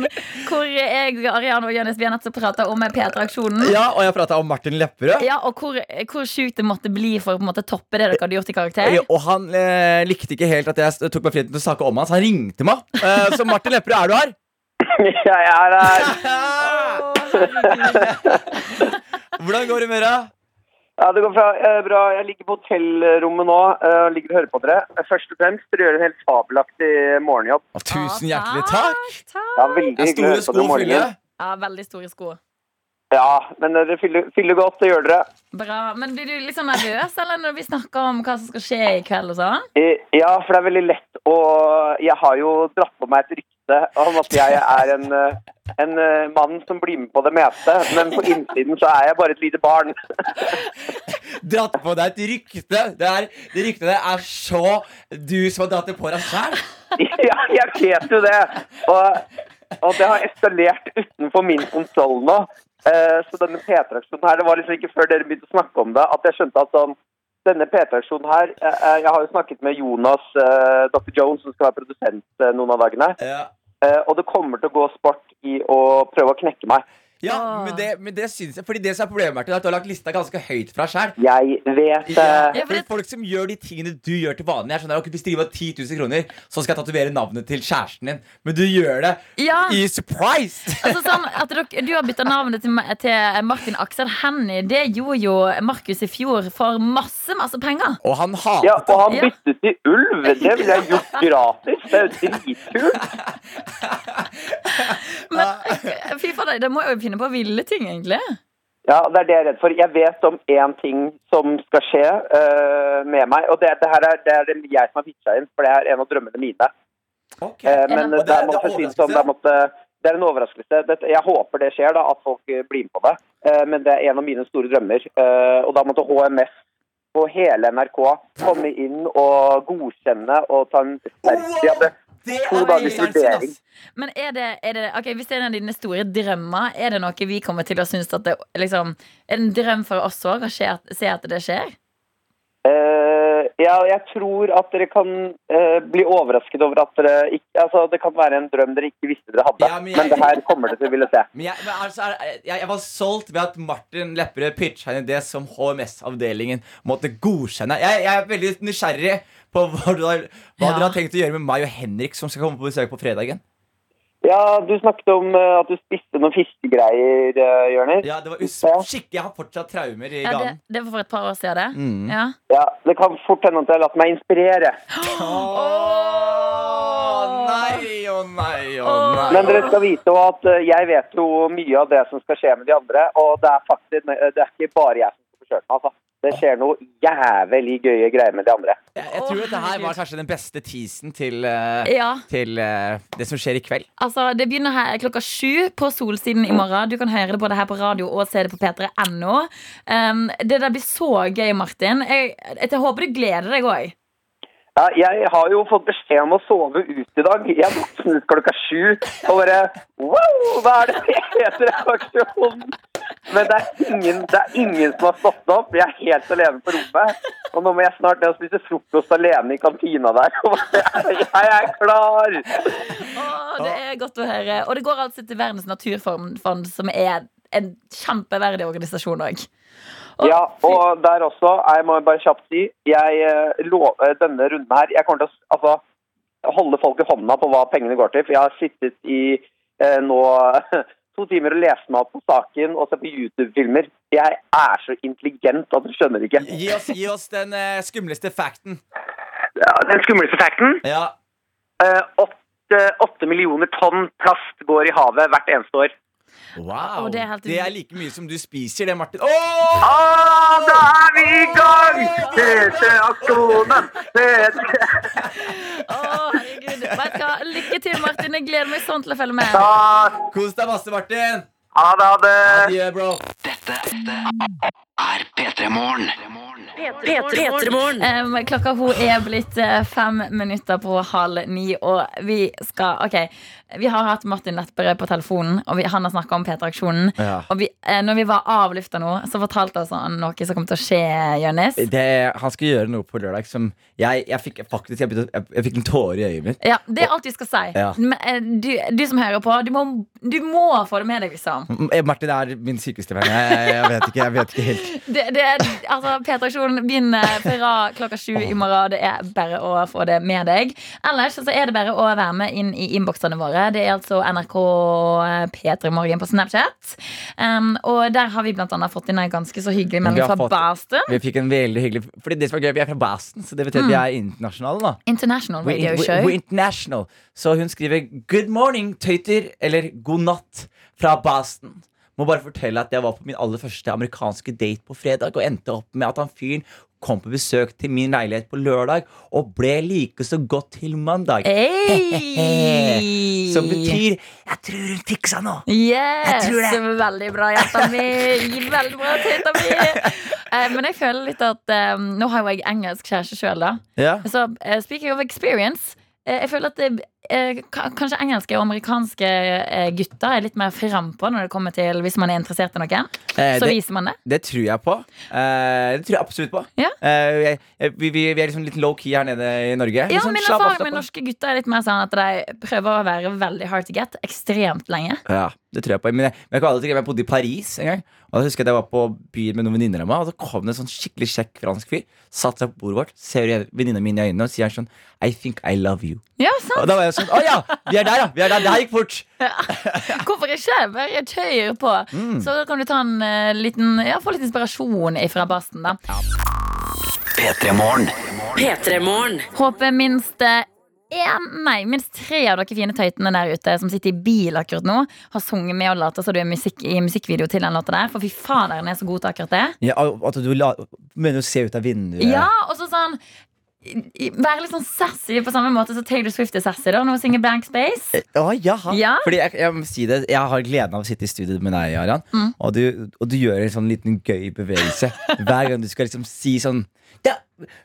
C: Hvor jeg, Ariane og Jonis Bianetze prater om P3-aksjonen. Ja.
D: Ja, og jeg prata om Martin Lepperød.
C: og hvor, hvor sjukt det måtte bli for å på en måte toppe det dere hadde gjort i karakter.
D: Ja, Og han eh, likte ikke helt at jeg s- tok meg friheten til å snakke om han, så han ringte meg. Eh, så Martin Lepperød, er du her?
E: Ja, jeg er her.
C: Å, herregud.
D: Hvordan går det med deg?
E: Ja, det går fra, eh, bra. Jeg ligger på hotellrommet nå eh, og ligger og hører på dere. Eh, Først og fremst, dere gjør en helt fabelaktig morgenjobb.
D: Å, tusen hjertelig takk.
C: takk.
E: Det er veldig
D: Det er
E: hyggelig å
D: store
E: høre
D: sko å
E: på dere
D: fylle.
E: om morgenen.
C: Ja, veldig store sko.
G: Ja, men eh, dere fyller, fyller godt, det gjør dere.
C: Bra. Men blir du litt sånn nervøs eller når vi snakker om hva som skal skje i kveld? og sånn?
G: Eh, Ja, for det er veldig lett å Jeg har jo dratt på meg et rykte om at jeg er en, eh, en eh, mann som blir med på det meste, men på innsiden så er jeg bare et lite barn.
D: Dratt på deg et rykte. Det, er, det ryktet der er så du som har dratt det på deg sjæl.
G: Ja, jeg vet jo det. Og, og det har eskalert utenfor min kontroll nå. Eh, Så denne P3-aksjonen her, det var liksom ikke før dere begynte å snakke om det, at jeg skjønte at sånn denne P3-aksjonen her eh, eh, Jeg har jo snakket med Jonas eh, Dr. Jones, som skal være produsent eh, noen av dagene.
D: Ja.
G: Eh, Og det kommer til å gå sport i å prøve å knekke meg.
D: Ja,
C: Åh.
D: men det, men det syns jeg. Fordi det som er problemet, Martin, er at du har lagt lista ganske høyt fra sjæl.
G: Jeg vet
D: Ja,
G: eh, det.
C: Ja, for
D: fordi
C: det-
D: folk som gjør de tingene du gjør til vanlig sånn, Jeg skjønner, ok, Hvis det gir meg 10 000 kroner, så skal jeg tatovere navnet til kjæresten din. Men du gjør det
C: Ja,
D: i surprise!
C: altså sånn at dere, Du har bytta navnet til, meg- til Martin Aksel Hennie. Det gjorde jo Markus i fjor for masse, masse penger.
D: Og han hatet
G: Ja, og han
C: Ja.
G: byttet til ulv. Det ville jeg gjort gratis. Det er jo dritkult.
C: Men fy fader, det må jo finne på ville ting, egentlig.
G: Ja, det er det jeg er redd for. Jeg vet om én ting som skal skje eh, med meg. Og det, det her er det, er det jeg som har pitcha inn, for det er en av drømmene mine.
D: Ok.
G: Eh, men
C: Ja.
G: det,
D: Og det er-
G: er,
D: det er
G: si det, sånn, det, er, måtte, det er en overraskelse. Det, jeg håper det skjer, da, at folk eh, blir med på det. Eh, men det er en av mine store drømmer. Eh, og da måtte HMS og hele NRK komme inn og godkjenne og ta en sterk De hadde
D: Det
G: to
D: er
G: dagers
D: veldig
G: vurdering.
D: ass.
C: Men er det, er det ok, Hvis det er en av dine store drømmer, er det noe vi kommer til å synes at det liksom, Er det en drøm for oss òg å se at, se at det skjer?
G: Eh, ja, jeg tror at dere kan eh, bli overrasket over at dere ikke Altså, det kan være en drøm dere ikke visste dere hadde.
D: Ja, men
G: men,
D: jeg-
G: det her kommer dere til å ville se.
D: Men, jeg, men altså, er- jeg, jeg var solgt ved at Martin Lepperød pitcha inn det som HMS-avdelingen måtte godkjenne. Jeg, jeg er veldig nysgjerrig på hva, du har, hva
C: Ja.
D: dere har tenkt å gjøre med meg og Henrik, som skal komme på besøk på fredagen.
G: Ja, du snakket om eh, at du spiste noen fiskegreier, uh, Jørnis. Ja.
D: Ja, det var us
G: Ja.
D: skikkelig, Jeg har fortsatt traumer i
C: Ja, det,
D: ganen.
C: det var for et par år siden, det.
D: Mm.
C: Ja.
G: det kan fort hende at jeg har latt meg inspirere.
D: Åh, nei, å nei, å nei.
G: Men dere skal vite også at eh, jeg vet jo mye av det som skal skje med de andre, og det er faktisk det er ikke bare jeg som skal få kjørt meg, altså. Det skjer noe jævlig gøye greier med de andre.
D: Jeg, jeg tror
C: Åh,
D: dette her var
C: herregud.
D: kanskje den beste teasen til, eh,
C: ja.
D: til eh, det som skjer i kveld.
C: Altså, Det begynner her klokka sju på Solsiden i morgen. Du kan høre det både her på radio og se det på p3.no. Um, det der blir så gøy, Martin. Jeg, jeg, håper du gleder deg òg.
G: Ja, jeg har jo fått beskjed om å sove ut i dag. Jeg våknet klokka sju og bare Wow, hva er det jeg heter aksjonen? Men det er, ingen, det er ingen som har stått opp. Jeg er helt alene på rommet. Og nå må jeg snart ned og spise frokost alene i kantina der. Og bare, Jeg er klar!
C: Det er godt å høre. Og det går altså til Verdens naturfond, som er en kjempeverdig organisasjon òg.
G: Ja, og der også, jeg må bare kjapt si, jeg eh, lover denne runden her, jeg kommer til å s- altså, holde folk i hånda på hva pengene går til, for jeg har sittet i eh, nå to timer og lest meg opp på saken og sett på YouTube-filmer. Jeg er så intelligent at du skjønner ikke.
D: Gi oss, gi oss den eh, skumleste facten.
G: Ja, den skumleste fakten,
D: Ja.
G: eh, åtte, åtte millioner tonn plast går i havet hvert eneste år.
D: Wow.
C: Å,
D: det,
C: det er
D: er
C: helt-
D: like mye som du spiser, det, Martin. Åh!
G: Ah, da er vi i gang! PC-aksjonen!
C: Å, herregud. Vet du hva? Lykke til, Martin. Jeg gleder meg sånn til å følge med.
D: Kos deg masse, Martin.
G: Ha det, ha det!
D: Adjø, bro.
F: er P3 Morgen.
C: Um, klokka hun er blitt eh, fem minutter på halv ni, og vi skal OK. Vi har hatt Martin Lepperød på telefonen, og vi, han har snakka om P3-aksjonen.
D: Ja.
C: Og vi, eh, når vi var av lufta nå, så fortalte altså han noe som kom til å skje, Jonis.
D: Det, han skal gjøre noe på lørdag som Jeg, jeg fikk faktisk jeg, begynte- jeg, jeg fikk en tåre i øyet mitt.
C: Ja, Det er alt vi skal si.
D: Ja.
C: Men, eh, du, du som hører på, du må, du må få det med deg, liksom.
D: M- eh, Martin er min sykeste venn. Jeg, jeg, jeg, vet ikke, jeg vet ikke helt.
C: Det, det, er- altså, P3-aksjonen begynner fra eh, klokka sju i morgen. Det er bare å få det med deg. Ellers så er det bare å være med inn i innboksene våre. Det er altså NRK eh, P3 Morgen på Snapchat. Um, og der har vi blant annet fått inn en ganske så hyggelig
D: Vi
C: melding
D: har
C: fra
D: fått-
C: Boston.
D: Vi fikk en veldig hyggelig Fordi det som er gøy, vi er fra Boston, så det betyr at vi er internasjonale. da
C: International
D: We're,
C: Radio
D: in- we're,
C: Show.
D: we're international. Så hun skriver 'Good morning, tøyter', eller 'God natt' fra Boston. Må bare fortelle at jeg var på min aller første amerikanske date på fredag og endte opp med at han fyren kom på besøk til min leilighet på lørdag og ble like så godt til mandag.
C: Hey!
D: Som betyr 'jeg tror hun fiksa noe'.
C: Yes!
D: Jeg tror det.
C: Veldig bra, jenta mi! Veldig bra, jenta mi! Eh, men jeg føler litt at eh, Nå har jo jeg engelsk kjæreste sjøl, da.
D: Ja.
C: Så eh, speaking of experience eh, Jeg føler at det, eh, ka- kanskje engelske og amerikanske eh, gutter er litt mer frampå når det kommer til hvis man er interessert i noen.
D: Eh,
C: Så
D: det-
C: viser man det.
D: Det tror jeg på. Eh, det tror jeg absolutt på.
C: Ja.
D: Eh, jeg, jeg, vi, vi, vi er liksom litt low-key her nede i Norge.
C: Ja,
D: Litt
C: altså,
D: sånn
C: Min
D: slapp av,
C: erfaring
D: slapp
C: med
D: av.
C: norske gutter er litt mer sånn at de prøver å være veldig hard to get ekstremt lenge.
D: Ja, det tror jeg på. Men jeg, men jeg, kan aldri glemme, jeg bodde i Paris en gang. Og da husker jeg at jeg var på byen med noen venninner av meg, og så kom det en sånn skikkelig kjekk fransk fyr. Satt seg på bordet vårt, ser venninna mi i øynene og sier sånn I think I love you.
C: Ja, sant?
D: Og da var jeg sånn Å ja! Vi er der, ja! Vi er der. Det her gikk fort.
C: Hvorfor ikke? Bare kjør på.
D: Mm.
C: Så da kan du ta en eh, liten, ja, få litt inspirasjon fra Basten, da.
F: P3 Morgen.
I: P3morgen.
C: Håper minst eh, en, nei, minst tre av dere fine tøytene der ute som sitter i bil akkurat nå, har sunget med og later som du er musikk, i musikkvideo til den låta der. For fy fader, den er så god til akkurat det.
D: Ja, at du la, mener å se ut av vinduet.
C: Ja, og så sånn i- i- Være litt sånn sassy på samme måte som Taylor Swift er sassy da, når hun synger Blank Space.
D: Å, jaha.
C: Ja.
D: Fordi jeg, jeg må si det Jeg har gleden av å sitte i studio med deg, Arian.
C: Mm.
D: Og, du, og du gjør en sånn liten gøy bevegelse hver gang du skal liksom si sånn da,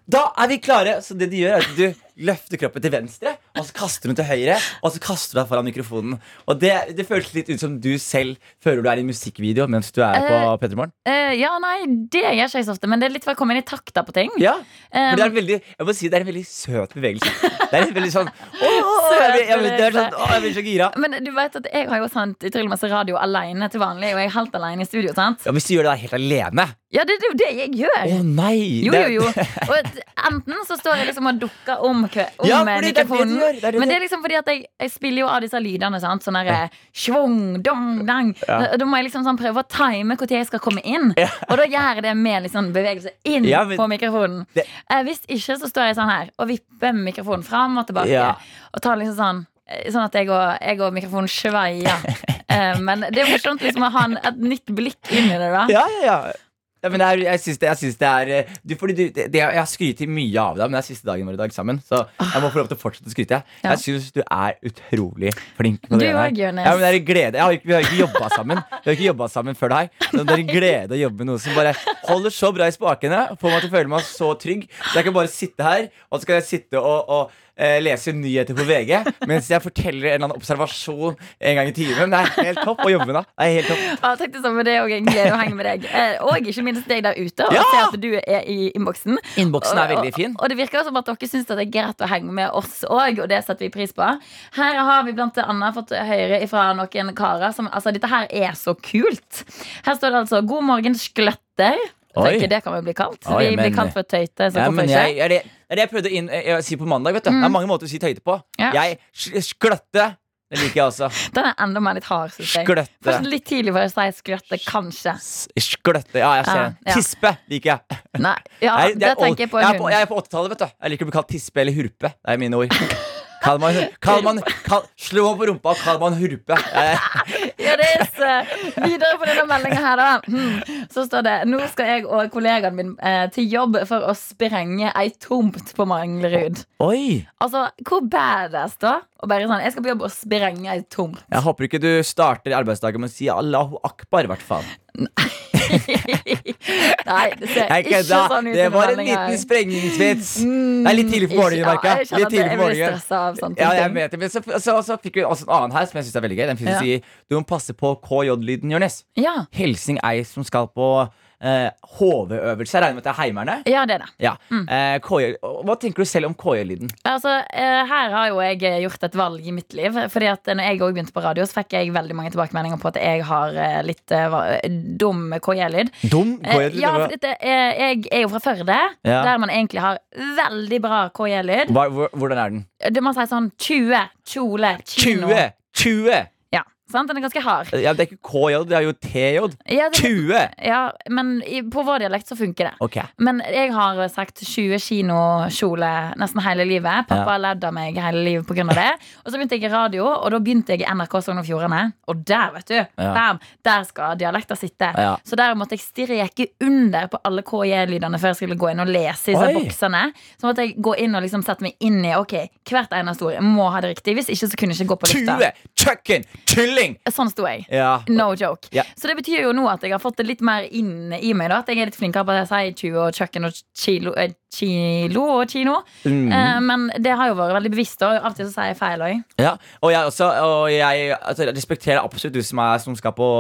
D: da er vi klare! Så det du gjør, er at du løfter kroppen til venstre, og så kaster du den til høyre, og så kaster du deg foran mikrofonen. Og det, det føles litt ut som du selv føler du er i en musikkvideo mens du er på
C: Eh,
D: P3 Morgen.
C: Eh, ja, nei, det gjør ikke jeg så ofte, men det er litt for å komme inn i takta på ting.
D: Ja.
C: Eh,
D: For det er en veldig, jeg må si det er en veldig søt bevegelse. Det er en veldig sånn Å, jeg, blir- jeg, blir- det er sånn, å, jeg blir så gira.
C: men du vet at jeg har jo sendt utrolig masse radio alene til vanlig, og jeg er helt alene i studio, sant?
D: Ja, hvis du gjør det da helt alene
C: Ja, det det er jo det jeg gjør.
D: Å nei!
C: Jo,
D: det-
C: jo, jo. Og at enten så står jeg liksom og dukker om, kø, om
D: Ja, fordi det
C: eh,
D: er det du
C: mikrofonen.
D: gjør, det er det
C: men
D: du-
C: det er liksom fordi at jeg, jeg spiller jo av disse lydene. Sant? Sånn derre schwung, dong, dang. Da, da må jeg liksom sånn prøve å time når jeg skal komme inn. Og da gjør jeg det med litt sånn bevegelse inn
D: Ja, men-
C: på mikrofonen.
D: Det-
C: Eh, hvis ikke så står jeg sånn her og vipper mikrofonen fram og tilbake.
D: Ja.
C: Og tar liksom sånn eh, Sånn at jeg og, jeg og mikrofonen sveier. Eh, men det er morsomt liksom å ha en, et nytt blikk inn i det. da
D: Ja, ja, ja. ja men det er, jeg syns det, jeg syns det er eh, du, fordi du, det, det- Jeg har skrytt mye av deg, men det er siste dagen vår i dag sammen. Så jeg må få lov til å fortsette å skryte.
C: Ja.
D: Jeg syns du er utrolig flink. på
C: Du
D: det her.
C: også, Jonas.
D: Ja, men det er en glede. Jeg har, ikke- vi har ikke jobba sammen Vi har ikke jobbet sammen før det her. Så det er en glede å jobbe med noe som bare holder så bra i spakene. og Får meg til å føle meg så trygg. Så jeg kan bare sitte her, og så skal jeg sitte og, og eh, lese nyheter på VG mens jeg forteller en eller annen observasjon en gang i timen. Det er helt topp å jobbe med da. Det er helt topp.
C: Ja, takk det samme. Det er også en glede å henge med deg. Eh, Og ikke minst deg der ute. Og
D: Ja!
C: se at du er i innboksen.
D: Innboksen er veldig fin.
C: Og, og det virker som at dere syns det er greit å henge med oss òg, og det setter vi pris på. Her har vi blant annet fått høre ifra noen karer som Altså, dette her er så kult. Her står det altså 'God morgen, skløtter'. Jeg
D: Oi.
C: Tenker, det kan vi bli kalt.
D: Oi,
C: vi
D: men-
C: blir kalt for tøyte, så
D: Ja,
C: hvorfor
D: men
C: ikke?
D: jeg, er det, er det jeg prøvde å inn, eh, si på mandag. vet du Det er mange måter å si tøyte på.
C: Mm. Ja.
D: Jeg sk- Skløtte! Det liker jeg også.
C: Den er enda mer litt hard, syns jeg.
D: Skløtte.
C: Først litt tidlig for å si 'skløtte', kanskje.
D: S- Skløtte, Ja, jeg ser
C: Ja,
D: den.
C: ja.
D: Tispe liker jeg.
C: Nei, ja,
D: Jeg-
C: det,
D: jeg er old-
C: tenker jeg på. en
D: Jeg er på,
C: hund.
D: jeg er på 80-tallet, vet du. Jeg liker å bli kalt tispe eller hurpe. Det er mine ord. Kall man, kall man, kall, slå meg på rumpa og kall man hurpe. Jeg,
C: Ja, det er så- Videre på denne meldinga her, da. Hmm. Så står det Nå skal jeg og kollegaen min eh, til jobb for å sprenge ei tomt på Manglerud.
D: oi!
C: Altså, hvor badass, da? Og bare sånn, Jeg skal på jobb og sprenge ei tomt.
D: Jeg håper ikke du starter arbeidsdagen med å si Allahu akbar, i hvert fall.
C: Nei, det ser
D: Jeg
C: ikke
D: kødda.
C: sånn ut.
D: Det
C: i
D: var en
C: meldingen her.
D: liten sprengningsvits. Det er litt tidlig på morgenen,
C: Ikke- Mm. ja,
D: merker
C: jeg
D: jeg.
C: kjenner
D: Litt
C: at jeg-
D: tidlig på
C: jeg blir
D: morgenen.
C: stressa av sånne
D: Ja,
C: ting.
D: jeg vet det. Men så, så, så fikk vi også en annen her som jeg synes er veldig gøy. Den finnes
C: Ja.
D: i Du må passe på KJ-lyden, Jonis.
C: Ja.
D: Hilsing ei som skal på eh, HV-øvelse. Jeg regner med at det er Heimerne.
C: ja, det er det.
D: Ja. Eh, KJ, og hva tenker du selv om KJ-lyden?
C: Altså, eh, Her har jo jeg eh, gjort et valg i mitt liv. Fordi at eh, når jeg også begynte på radio, så fikk jeg veldig mange tilbakemeldinger på at jeg har eh, litt eh, va- dum KJ-lyd.
D: Dum
C: Eh, ja, for dette, eh, jeg er jo fra Førde,
D: Ja.
C: der man egentlig har veldig bra KJ-lyd.
D: Hva, hvor- hvordan er den?
C: Det Man sier sånn 20, kjole, kino.
D: 20! 20!
C: Ja, sant? Den er ganske hard.
D: Ja, det er ikke KJ, det er jo TJ.
C: Ja, det,
D: Kue!
C: ja, men i, på vår dialekt så funker det.
D: Ok.
C: Men jeg har sagt 20 kinokjole nesten hele livet. Pappa har levd av meg hele livet pga. det. Og så begynte jeg i radio, og da begynte jeg i NRK Sogn og Fjordane. Og der, vet du! Bam, der skal dialekter sitte.
D: Ja.
C: Så der måtte jeg streke under på alle KJ-lydene før jeg skulle gå inn og lese i disse
D: Oi.
C: boksene. Så måtte jeg gå inn og liksom sette meg inn i Ok, hvert eneste ord. Jeg må ha det riktig. Hvis ikke, så kunne jeg ikke gå på lufta.
D: Tue! Kjøkken! Kylling!
C: Sånn sto jeg.
D: Ja.
C: No joke.
D: Ja.
C: Så det betyr jo nå at jeg har fått det litt mer inn i meg. Da, at jeg er litt flinkere på å si 20 og kjøkken og kilo, eh, kilo og kino.
D: Mm.
C: Eh, men det har jo vært veldig bevisst. Og av og til så sier jeg feil òg.
D: Ja, og jeg, også, og jeg altså, respekterer absolutt du som, er, som skal på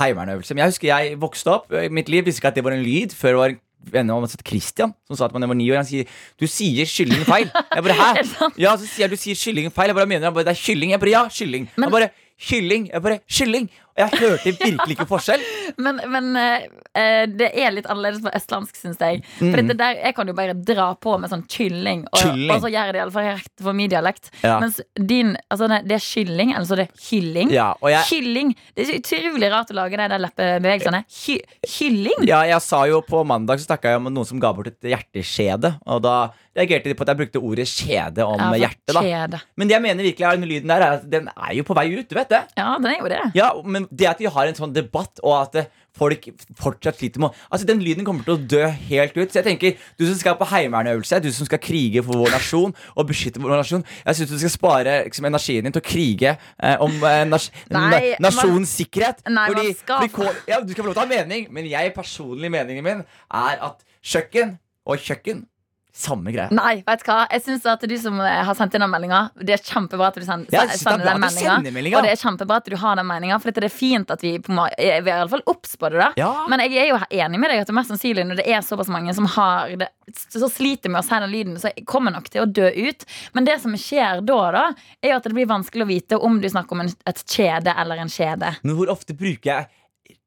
D: heimevernøvelse. Men jeg husker jeg vokste opp i mitt liv, visste ikke at det var en lyd før det var en venn av meg som het Christian, som sa at man var ni år. Han sier 'du sier kyllingen feil'. Jeg bare 'hæ?!
C: det sant?
D: Ja, så sier jeg 'du sier kyllingen feil'. Jeg bare «Hva mener han bare 'det er kylling'. Jeg bare 'ja, kylling'.
C: Men-
D: Han bare 'kylling'. Jeg bare 'kylling'. Og jeg hørte virkelig ikke forskjell.
C: Men, men eh, eh, det er litt annerledes på østlandsk, syns jeg. For det der, jeg kan jo bare dra på med sånn kylling, og,
D: Mm. Kylling.
C: og så gjør jeg det iallfall rett for min dialekt.
D: Ja.
C: Mens din altså det, det er kylling, eller så er det kylling.
D: Ja, og jeg-
C: Kylling! Det er så utrolig rart å lage de der leppebevegelsene. Ky kylling!
D: Ja, jeg sa jo På mandag så snakka jeg om noen som ga bort et hjerteskjede. Og da reagerte de på at jeg brukte ordet skjede om
C: for
D: hjertet. da
C: kjede.
D: Men det jeg mener virkelig er den lyden der, er at den er jo på vei ut. du vet det
C: Ja, den er jo det.
D: Ja, men det at vi har en sånn debatt, og at eh, folk fortsatt sliter med å- Altså, Den lyden kommer til å dø helt ut. Så jeg tenker, du som skal på heimevernøvelse, du som skal krige for vår nasjon og beskytte vår nasjon, jeg syns du skal spare liksom, energien din til å krige eh, om eh, nas
C: Nei,
D: na nasjonens sikkerhet.
C: Nei, man skal-
D: K- ja, Du skal få lov til å ha mening, men jeg personlig meningen min er at kjøkken og kjøkken samme greie.
C: Nei, vet du hva? Jeg synes at du som eh, har sendt inn den meldinga, det er kjempebra at du send,
D: Ja, jeg synes det er bra
C: sender den
D: at du
C: meldinga.
D: sender meldinga.
C: Og det er kjempebra at du har den meldinga, for dette er fint at vi, på, en måte- eh, vi er i alle fall obs på det. da
D: Ja.
C: Men jeg er jo enig med deg at det mest sannsynlig når det er såpass mange som har det, så sliter med å si den lyden, så kommer nok til å dø ut. Men det som skjer da, da er jo at det blir vanskelig å vite om du snakker om en, et kjede eller en kjede.
D: Men hvor ofte bruker jeg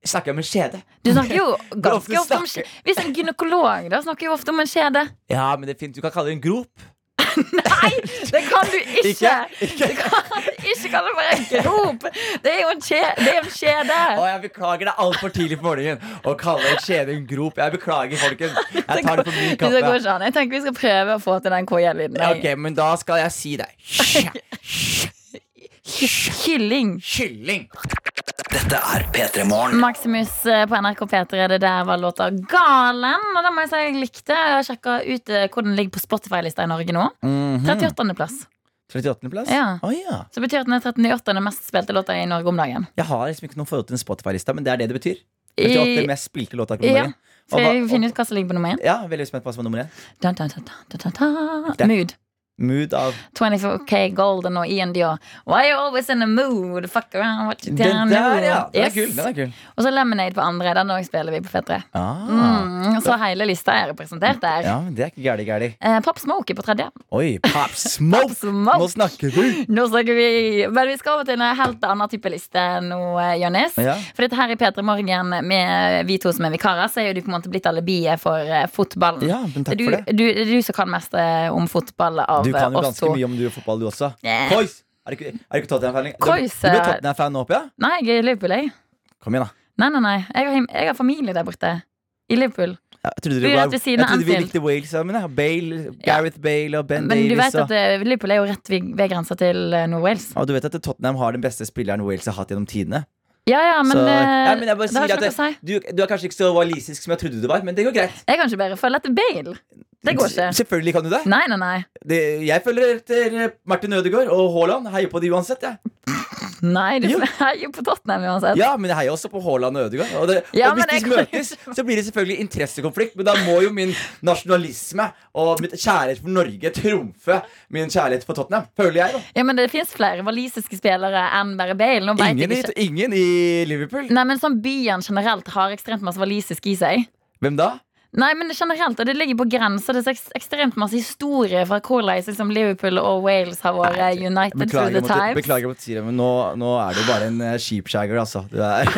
D: Snakker jeg om en skjede?
C: Du snakker jo
D: ofte
C: ganske ofte om
D: snakker-
C: skje- Hvis en gynekolog da snakker jo ofte om en kjede.
D: Ja, men det er fint. Du kan kalle det en grop.
C: Nei, det kan du ikke!
D: Ikke? Ikke?
C: Du kan ikke kalle det for en grop! Det er jo en, kje, det er jo en kjede.
D: Å, jeg beklager, det er altfor tidlig på morgenen å kalle en kjede en grop. Jeg beklager, folkens. Jeg tar det på min
C: Det går sånn,
D: kappe.
C: ikke an. Jeg tenker vi skal prøve å få til den KJ-lyden.
D: Ja, Ok, men da skal jeg si det. Kjø-
C: Kylling.
D: Kylling.
F: Dette er P3 Morgen.
C: Maximus eh, på NRK P3, det der var låta 'Galen'. Og da må jeg si jeg likte. Jeg har sjekka ut eh, hvor den ligger på Spotify-lista i Norge nå.
D: Mm.
C: 38. plass.
D: 38. Mhm. plass?
C: Ja.
D: Å, ja.
C: Så betyr at den er 38. mest spilte låta i Norge om dagen.
D: Jeg har liksom ikke noe forhold til den Spotify-lista, men det er det det betyr. 38 mest spilte låter akkurat om
C: Ja.
D: dagen. Og
C: Skal jeg
D: hva-
C: finne ut hva som ligger på nummer én?
D: Ja, veldig spent på hva som er nummer én.
C: Da, da, da, da, da, da, da.
D: Det-
C: Mood.
D: Mood av
C: 24K Golden og Ian Dior. Why you always in the mood? Fuck around, what you
D: Den
C: down
D: der, ja. Den er
C: Yes.
D: kul. Den er kul.
C: Og så Lemonade på andre. Den òg spiller vi på P3.
D: Ah.
C: Mm, så hele lista er representert der.
D: Ja, men det er ikke gærlig, gærlig.
C: Eh, Pop Smoke er på tredje.
D: Oi, Pop Smoke!
C: Smoke.
D: Nå snakker du!
C: Nå snakker vi Men vi skal over til en helt annen type liste nå, eh, Jonis.
D: Ja.
C: For dette her i P3 Morgen med vi to som er vikarer, så er jo du på en måte blitt alibiet for eh, fotballen.
D: Ja, men takk
C: du,
D: for det.
C: Du, det er du som kan mest eh, om fotball av
D: Du kan
C: eh,
D: jo
C: oss
D: ganske
C: to.
D: mye om du og fotball, du også.
C: Yeah.
D: Kois! Er du ikke, er du ikke Tottenham-fan? lenger?
C: Kois,
D: Du, du ble
C: eh,
D: Tottenham-fan nå oppe, ja?
C: Nei, jeg er i Liverpool, jeg.
D: Kom igjen, da.
C: Nei, nei, nei. Jeg har, hjem- jeg har familie der borte. I Liverpool.
D: Jeg trodde,
C: Vi
D: det
C: er
D: var,
C: rett ved siden
D: jeg
C: av
D: trodde vi
C: Anfield.
D: likte Wales sammen. Ja. Bale, Gareth Bale og Ben
C: Men du
D: Davies.
C: vet
D: Og,
C: at eh, Liverpool er jo rett ved, ved grensa til eh, Nord-Wales.
D: og du vet at Tottenham har den beste spilleren Wales har hatt gjennom tidene.
C: Ja, ja, men,
D: så,
C: eh,
D: ja, men jeg bare
C: det har
D: sier
C: ikke
D: at
C: noe å si.
D: det- du, du er kanskje ikke så walisisk som jeg trodde du var, men det går greit.
C: Jeg kan ikke bare følge etter Bale. Det går ikke.
D: S- Selvfølgelig kan du det.
C: Nei, nei, nei.
D: det jeg følger etter eh, Martin Ødegaard og Haaland. Heier på de uansett, jeg.
C: Nei, Du
D: Jo.
C: er jo på Tottenham uansett.
D: Ja, men jeg heier også på Haaland og Ødegaard. Og, det,
C: Ja,
D: og hvis
C: men
D: de
C: jeg kan-
D: møtes, så blir det selvfølgelig interessekonflikt. Men da må jo min nasjonalisme og mitt kjærlighet for Norge trumfe min kjærlighet for Tottenham. Føler jeg, da.
C: Ja, men det fins flere walisiske spillere enn bare Bale. Nå vet
D: Ingen i,
C: jeg ikke.
D: ingen i Liverpool?
C: Nei, men sånn Byen generelt har ekstremt masse walisisk i seg.
D: Hvem da?
C: Nei, men generelt, og Det ligger på grensa. Det er så ekst- ekstremt masse historie fra hvordan liksom Liverpool og Wales har vært united
D: Beklager,
C: through the
D: måtte,
C: times.
D: beklager måtte si det, men nå, nå er du bare en eh, sheepshagger, altså. Du er.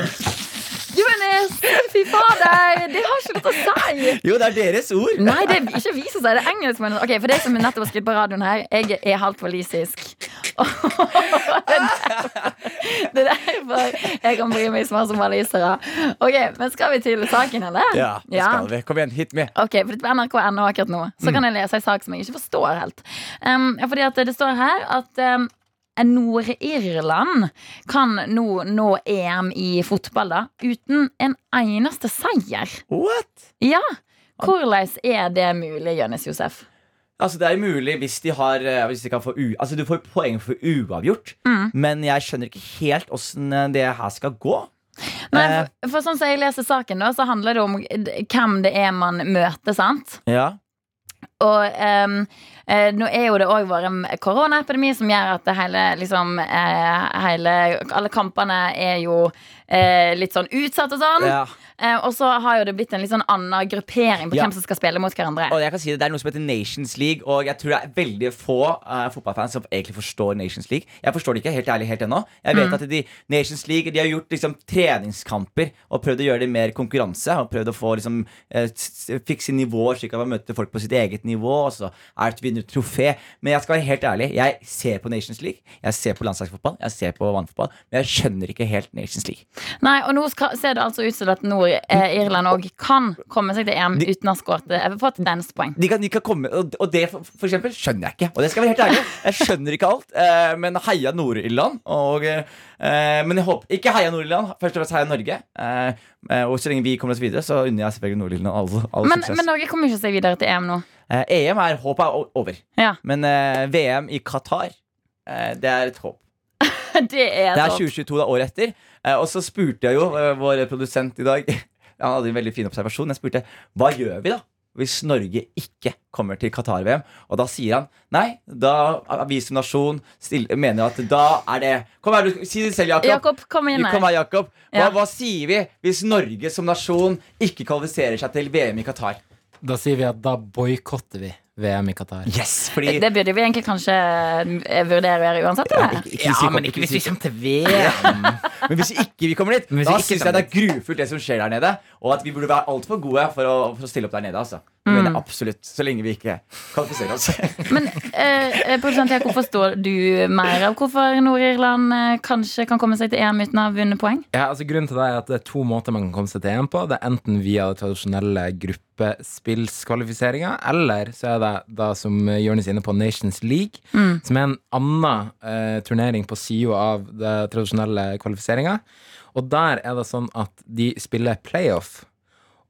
C: Jonis! Fy fader! Det har ikke noe å si!
D: Jo, det er deres ord!
C: Nei, det er ikke vi som sier det, det er engelskmennene. Ok, For deg som nettopp har skrevet på radioen her, jeg er halvt walisisk. Det er derfor jeg kan bry meg så mye som walisere. Ok, men skal vi til saken, eller?
D: Ja, det skal vi. Kom igjen, hit med.
C: Ok, for det er på nrk.no akkurat nå. Så kan jeg lese en sak som jeg ikke forstår helt. Um, ja, fordi at det står her at um, Nord-Irland kan nå nå EM i fotball da uten en eneste seier.
D: What?
C: Ja, hvordan er det mulig, Jonis Josef?
D: Altså, det er mulig hvis de har eh, Hvis de kan få u... Altså, du får poeng for uavgjort,
C: Mm.
D: men jeg skjønner ikke helt åssen eh, det her skal gå.
C: Nei,
D: Eh.
C: for, for sånn som jeg leser saken, da, så handler det om d- hvem det er man møter, sant?
D: Ja.
C: Og ehm, eh, nå er jo det òg vært en koronaepidemi som gjør at det hele, liksom, eh, hele Alle kampene er jo eh, litt sånn utsatt og sånn.
D: ja.
C: Eh, og så har jo det blitt en litt sånn annen gruppering på
D: Ja.
C: hvem som skal spille mot hverandre.
D: Og jeg kan si Det det er noe som heter Nations League, og jeg tror det er veldig få eh, fotballfans som egentlig forstår Nations League. Jeg forstår det ikke helt ærlig helt ennå. Jeg vet at de, Nations League de har gjort liksom, treningskamper og prøvd å gjøre det mer konkurranse. Og prøvd å få liksom, eh, s- s- fikse nivåer, slik at man møter folk på sitt eget nivå. Og så er det et vinnertrofé. Men jeg skal være helt ærlig, jeg ser på Nations League, jeg ser på landslagsfotball, jeg ser på vannfotball, men jeg skjønner ikke helt Nations League.
C: Nei, og nå skal, ser det altså ut som at Nord-Irland òg kan komme seg til EM uten å ha skåret eh, fått et eneste poeng.
D: De kan, de kan komme, og og det for, for eksempel skjønner jeg ikke. Og det skal jeg være helt ærlig. Jeg skjønner ikke alt. Eh, men heia Nord-Irland. Og, eh, eh, men jeg håper, ikke heia Nord-Irland, først og fremst heia Norge. Eh, eh, og så lenge vi kommer oss videre, så unner jeg selvfølgelig Nord-Irland all, all
C: Men,
D: suksess.
C: men Norge kommer ikke seg videre til EM nå.
D: eh, EM er håpet er o- over.
C: Ja,
D: Men eh, VM i Qatar, eh, det er et håp.
C: Det er,
D: Det er
C: så-
D: 2022, det er året etter. Eh, og så spurte jeg jo eh, vår produsent i dag Han hadde en veldig fin observasjon. Jeg spurte hva gjør vi da hvis Norge ikke kommer til Qatar-VM. Og da sier han nei. Da er vi som nasjon stille, mener at da er det Kom her, du, si det selv, Jakob.
C: Jakob, kom inn
D: Kom
C: her.
D: her, Jakob. Hva,
C: Ja.
D: hva sier vi hvis Norge som nasjon ikke kvalifiserer seg til VM i Qatar?
B: Da sier vi at da boikotter vi VM i Qatar.
D: Yes, fordi
C: Det burde vi egentlig kanskje eh, vurdere å gjøre uansett. Eller?
D: Ja, men
B: ikke hvis vi kommer til VM!
D: Mm. Men hvis ikke vi kommer dit,
B: Men hvis
D: da
B: ikke
D: syns jeg
B: kommer
D: det er grufullt det som skjer der nede. Og at vi burde være altfor gode for å, for å stille opp der nede. altså Det mener
B: Mm.
D: jeg absolutt, Så lenge vi ikke kvalifiserer oss.
C: Men eh, eh, produsent Jakob, forstår du mer av hvorfor Nord-Irland eh, kanskje kan komme seg til EM uten å ha vunnet poeng?
B: Ja, altså Grunnen til det er at det er to måter man kan komme seg til EM på. Det er enten via det tradisjonelle gruppespillskvalifiseringa, eller så er det da som Jonis er inne på, Nations League, som er en annen eh, turnering på sida av det tradisjonelle kvalifiseringa. Og der er det sånn at de spiller playoff.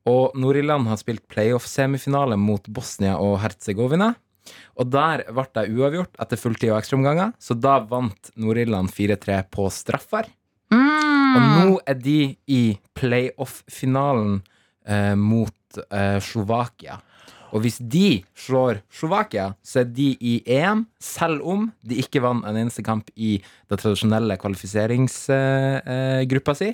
B: Og Nord-Irland har spilt playoff-semifinale mot Bosnia og Herzegovina. Og der ble det uavgjort etter fulltid og ekstraomganger, så da vant Nord-Irland 4-3 på straffer. Og nå er de i playoff-finalen eh, mot eh, Slovakia. Og hvis de slår Slovakia, så er de i EM, selv om de ikke vant en eneste kamp i den tradisjonelle kvalifiseringsgruppa eh, gruppa si,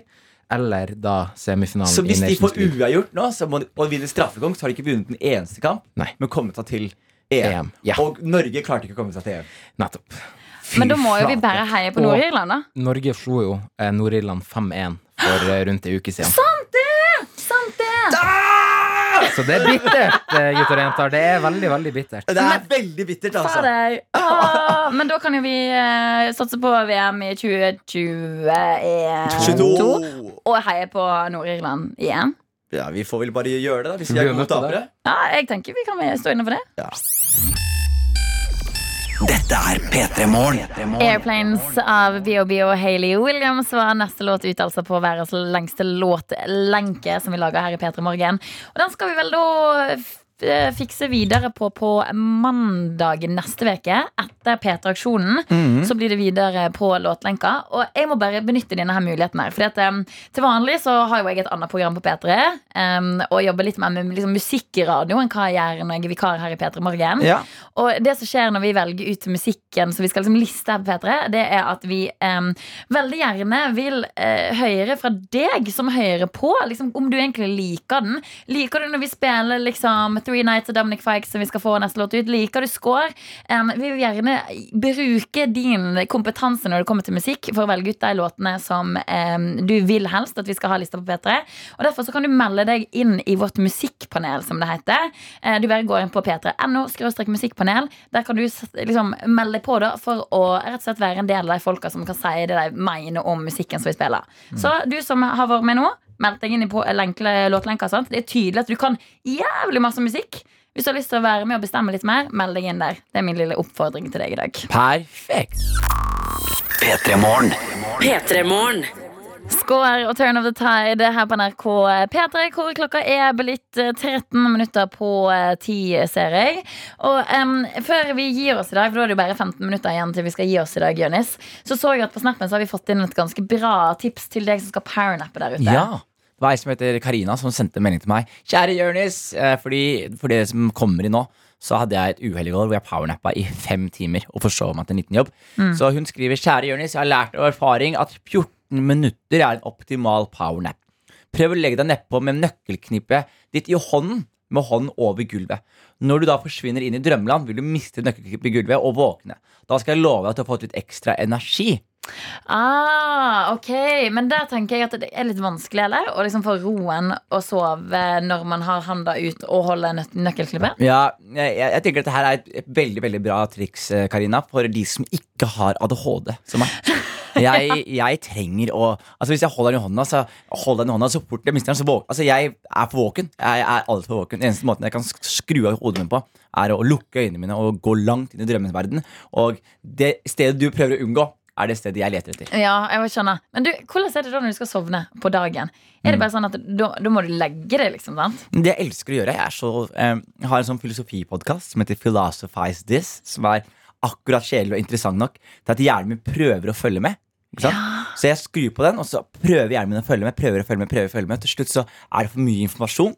B: eller da semifinalen
D: Så hvis
B: i
D: de
B: Nations
D: får
B: League.
D: uavgjort nå så må de, og vinner straffekonk, så har de ikke vunnet en eneste kamp,
B: Nei.
D: men kommet seg til EM.
B: EM, ja.
D: Og Norge klarte ikke å komme seg til EM.
B: Nettopp. Fy
C: Men da må jo vi
B: flate.
C: bare heie på
B: Og
C: Nord-Irland, da.
B: Norge slo jo eh, Nord-Irland 5-1 for eh, rundt ei uke siden.
C: Sant det! Sant det!
B: Så det er bittert, eh, gutter og jenter. Det er veldig, veldig bittert.
D: Det er veldig bittert, altså.
C: Fader. Åh, Men da kan jo vi eh, satse på VM i 2022
D: 22.
C: og heie på Nord-Irland igjen.
D: Ja, Vi får vel bare gjøre det, da, hvis vi
B: Blir
D: er
B: vi
D: gode
B: med på det?
D: tapere.
C: Ja, jeg tenker vi kan stå inne for det.
F: Dette er P3 Morgen.
C: Airplanes av BOB og Hayley Williams var neste låt ut altså på verdens lengste låtlenke som vi lager her i P3 Morgen. Og den skal vi vel da f- eh, fikse videre på på mandag neste veke etter P3-aksjonen. Så blir det videre på låtlenka. Og jeg må bare benytte denne her muligheten her. Fordi at em, til vanlig så har jo jeg et annet program på P3 em, og jobber litt mer med liksom, musikk i radio enn hva jeg gjør når jeg er vikar her i P3 Morgen.
D: Ja.
C: Og det som skjer når vi velger ut musikken som vi skal liksom liste her på P3, det er at vi em, veldig gjerne vil eh, høre fra deg som hører på, liksom, om du egentlig liker den. Liker du når vi spiller liksom Three Nights og Dominic Fike som vi skal få neste låt ut. Liker du score? Em, vi vil gjerne bruke din kompetanse når det kommer til musikk, for å velge ut de låtene som em, du vil helst at vi skal ha lista på P3. Og Derfor så kan du melde deg inn i vårt musikkpanel, som det heter. Eh, Du bare går inn på p3.no musikkpanel. Der kan du s- liksom melde deg på da for å rett og slett være en del av de folka som kan si det de mener om musikken som vi spiller. Så du som har vært med nå, meld deg inn i på- lenkle- låtlenka. Sant? Det er tydelig at du kan jævlig masse musikk. Hvis du har lyst til å være med og bestemme litt mer, meld deg inn der. Det er min lille oppfordring til deg i dag.
D: Perfekt.
F: P3morgen.
I: P3morgen.
C: Skår og Turn of the Tide her på NRK P3, hvor klokka er blitt eh, 13 minutter på eh, 10, ser jeg. Og em, før vi gir oss i dag, for da er det jo bare 15 minutter igjen til vi skal gi oss i dag, Jonis, så så jeg at på Snappen så har vi fått inn et ganske bra tips til deg som skal powernappe der ute.
D: Ja. Det var ei som heter Karina, som sendte en melding til meg. Kjære Jonis, eh, fordi for dere som kommer inn nå, så hadde jeg et uhell i går hvor jeg powernappa i fem timer og forsov meg til 19 jobb. Så hun skriver Kjære Jonis, jeg har lært av erfaring at 14 minutter er en optimal powernap. Prøv å legge deg nedpå med nøkkelknippet ditt i hånden med hånden over gulvet. Når du da forsvinner inn i drømmeland, vil du miste nøkkelknippet i gulvet og våkne. Da skal jeg love deg at du har fått litt ekstra energi.
C: Ah, ok, Men der tenker jeg at det er litt vanskelig, eller? Å liksom få roen og sove når man har handa ut og holder nøk nøkkelklippet.
D: Ja, jeg, jeg jeg tenker at dette her er et, et veldig veldig bra triks, eh, Karina, for de som ikke har ADHD. Som meg. Jeg, jeg trenger å Altså Hvis jeg holder den i hånda, så holder jeg den i hånda så fort jeg mister den. så våk, Altså Jeg er for våken. Jeg er alt for våken Den eneste måten jeg kan sk- skru av hodet mitt på, er å lukke øynene mine og gå langt inn i drømmens verden. Og det stedet du prøver å unngå, er det stedet jeg leter etter.
C: Ja, jeg skjønner Men du, hvordan er det da når du skal sovne på dagen?
D: Mm.
C: Er det bare sånn at da, da må du legge deg, liksom? sant?
D: Men Det jeg elsker å gjøre Jeg, er så, eh, jeg har en sånn filosofipodkast som heter Philosophize This, som er akkurat kjedelig og interessant nok til at hjernen min prøver å følge med. Ikke sant? Så jeg skrur på den, og så prøver hjernen min å følge med. Prøver å følge med, prøver å følge med Til slutt så er det for mye informasjon.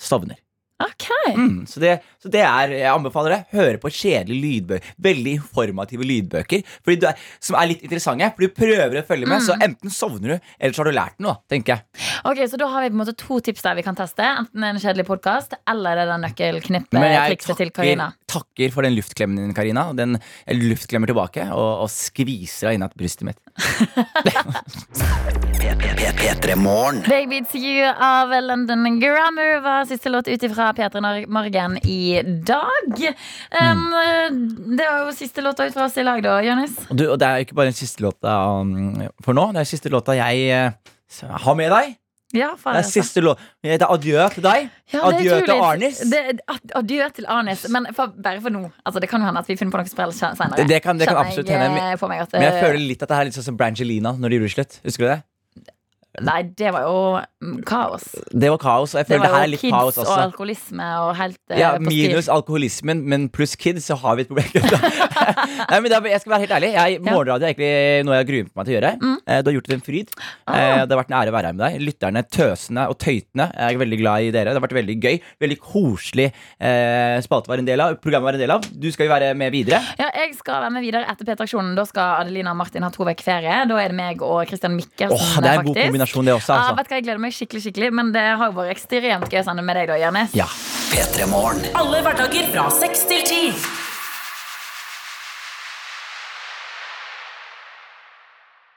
D: Sovner.
C: Ok
D: Mm, så, det, så det er Jeg anbefaler det. Høre på kjedelige lydbøker. Veldig informative lydbøker Fordi du er, som er litt interessante. For du prøver å følge med, så enten sovner du, eller så har du lært noe. tenker jeg
C: Ok, Så da har vi på en måte to tips der vi kan teste. Enten en kjedelig podkast eller det der
D: Men jeg
C: nøkkelknippet-trikset til Karina.
D: takker, takker for den luftklemmen din, Karina. Og den jeg luftklemmer tilbake og, og skviser deg innat brystet mitt.
F: P3morgen.
C: Big Beats You av London Grammar var siste låt ut ifra P3 Nor- Morgen i dag.
D: Mm.
C: Um, Det var jo siste låta ut fra oss i lag, da, Jonis.
D: Og, du, og det er jo ikke bare den siste låta um, for nå. Det er siste låta jeg eh, s- har med deg.
C: Ja, faen,
D: Det er
C: altså.
D: siste låta. Det er adjø til deg.
C: Ja, det er
D: adjø til
C: utrolig.
D: Arnis.
C: Det, ad- adjø til Arnis. Men for, bare for nå. Altså, det kan jo hende at vi finner på noe sprell senere.
D: Det- det kan- det kan
C: Kjenner
D: absolutt
C: jeg,
D: hende,
C: eh, på meg at,
D: Men jeg
C: eh,
D: føler litt at det her er litt sånn som Brangelina når de gjorde slutt. Husker du det?
C: Nei, det var jo mm, kaos.
D: Det var kaos. Og jeg
C: Det
D: føler det, her
C: var
D: er
C: jo
D: litt
C: kids
D: kaos
C: og
D: også.
C: alkoholisme og helt eh,
D: Ja,
C: på styr.
D: minus alkoholismen, men pluss kids, så har vi et problem. Nei, men da, jeg skal være helt ærlig. Jeg,
C: Ja. Mm.
D: morgenradio er egentlig noe jeg har gruet meg til å gjøre. Eh, Du har gjort det til en fryd.
C: Ah.
D: Eh, Det har vært en ære å være her med deg. Lytterne, tøsene og tøytene. Jeg er veldig glad i dere. Det har vært veldig gøy. Veldig koselig eh, spalte å være en del av. Programmet å være en del av. Du skal jo være med videre.
C: Ja, jeg skal være med videre etter P-traksjonen. Da skal Adelina og Martin ha to uker ferie. Da er det meg og Christian Mikkelsen.
D: Åh, det er en god
C: Sånn faktisk.
D: kombinasjon, det også.
C: Ja,
D: Altså.
C: vet du hva, jeg gleder meg skikkelig, skikkelig men det har jo vært ekstremt gøy å sende med deg, da, Jørnes.
D: Ja.
F: P3morgen.
I: Alle hverdager fra seks til ti.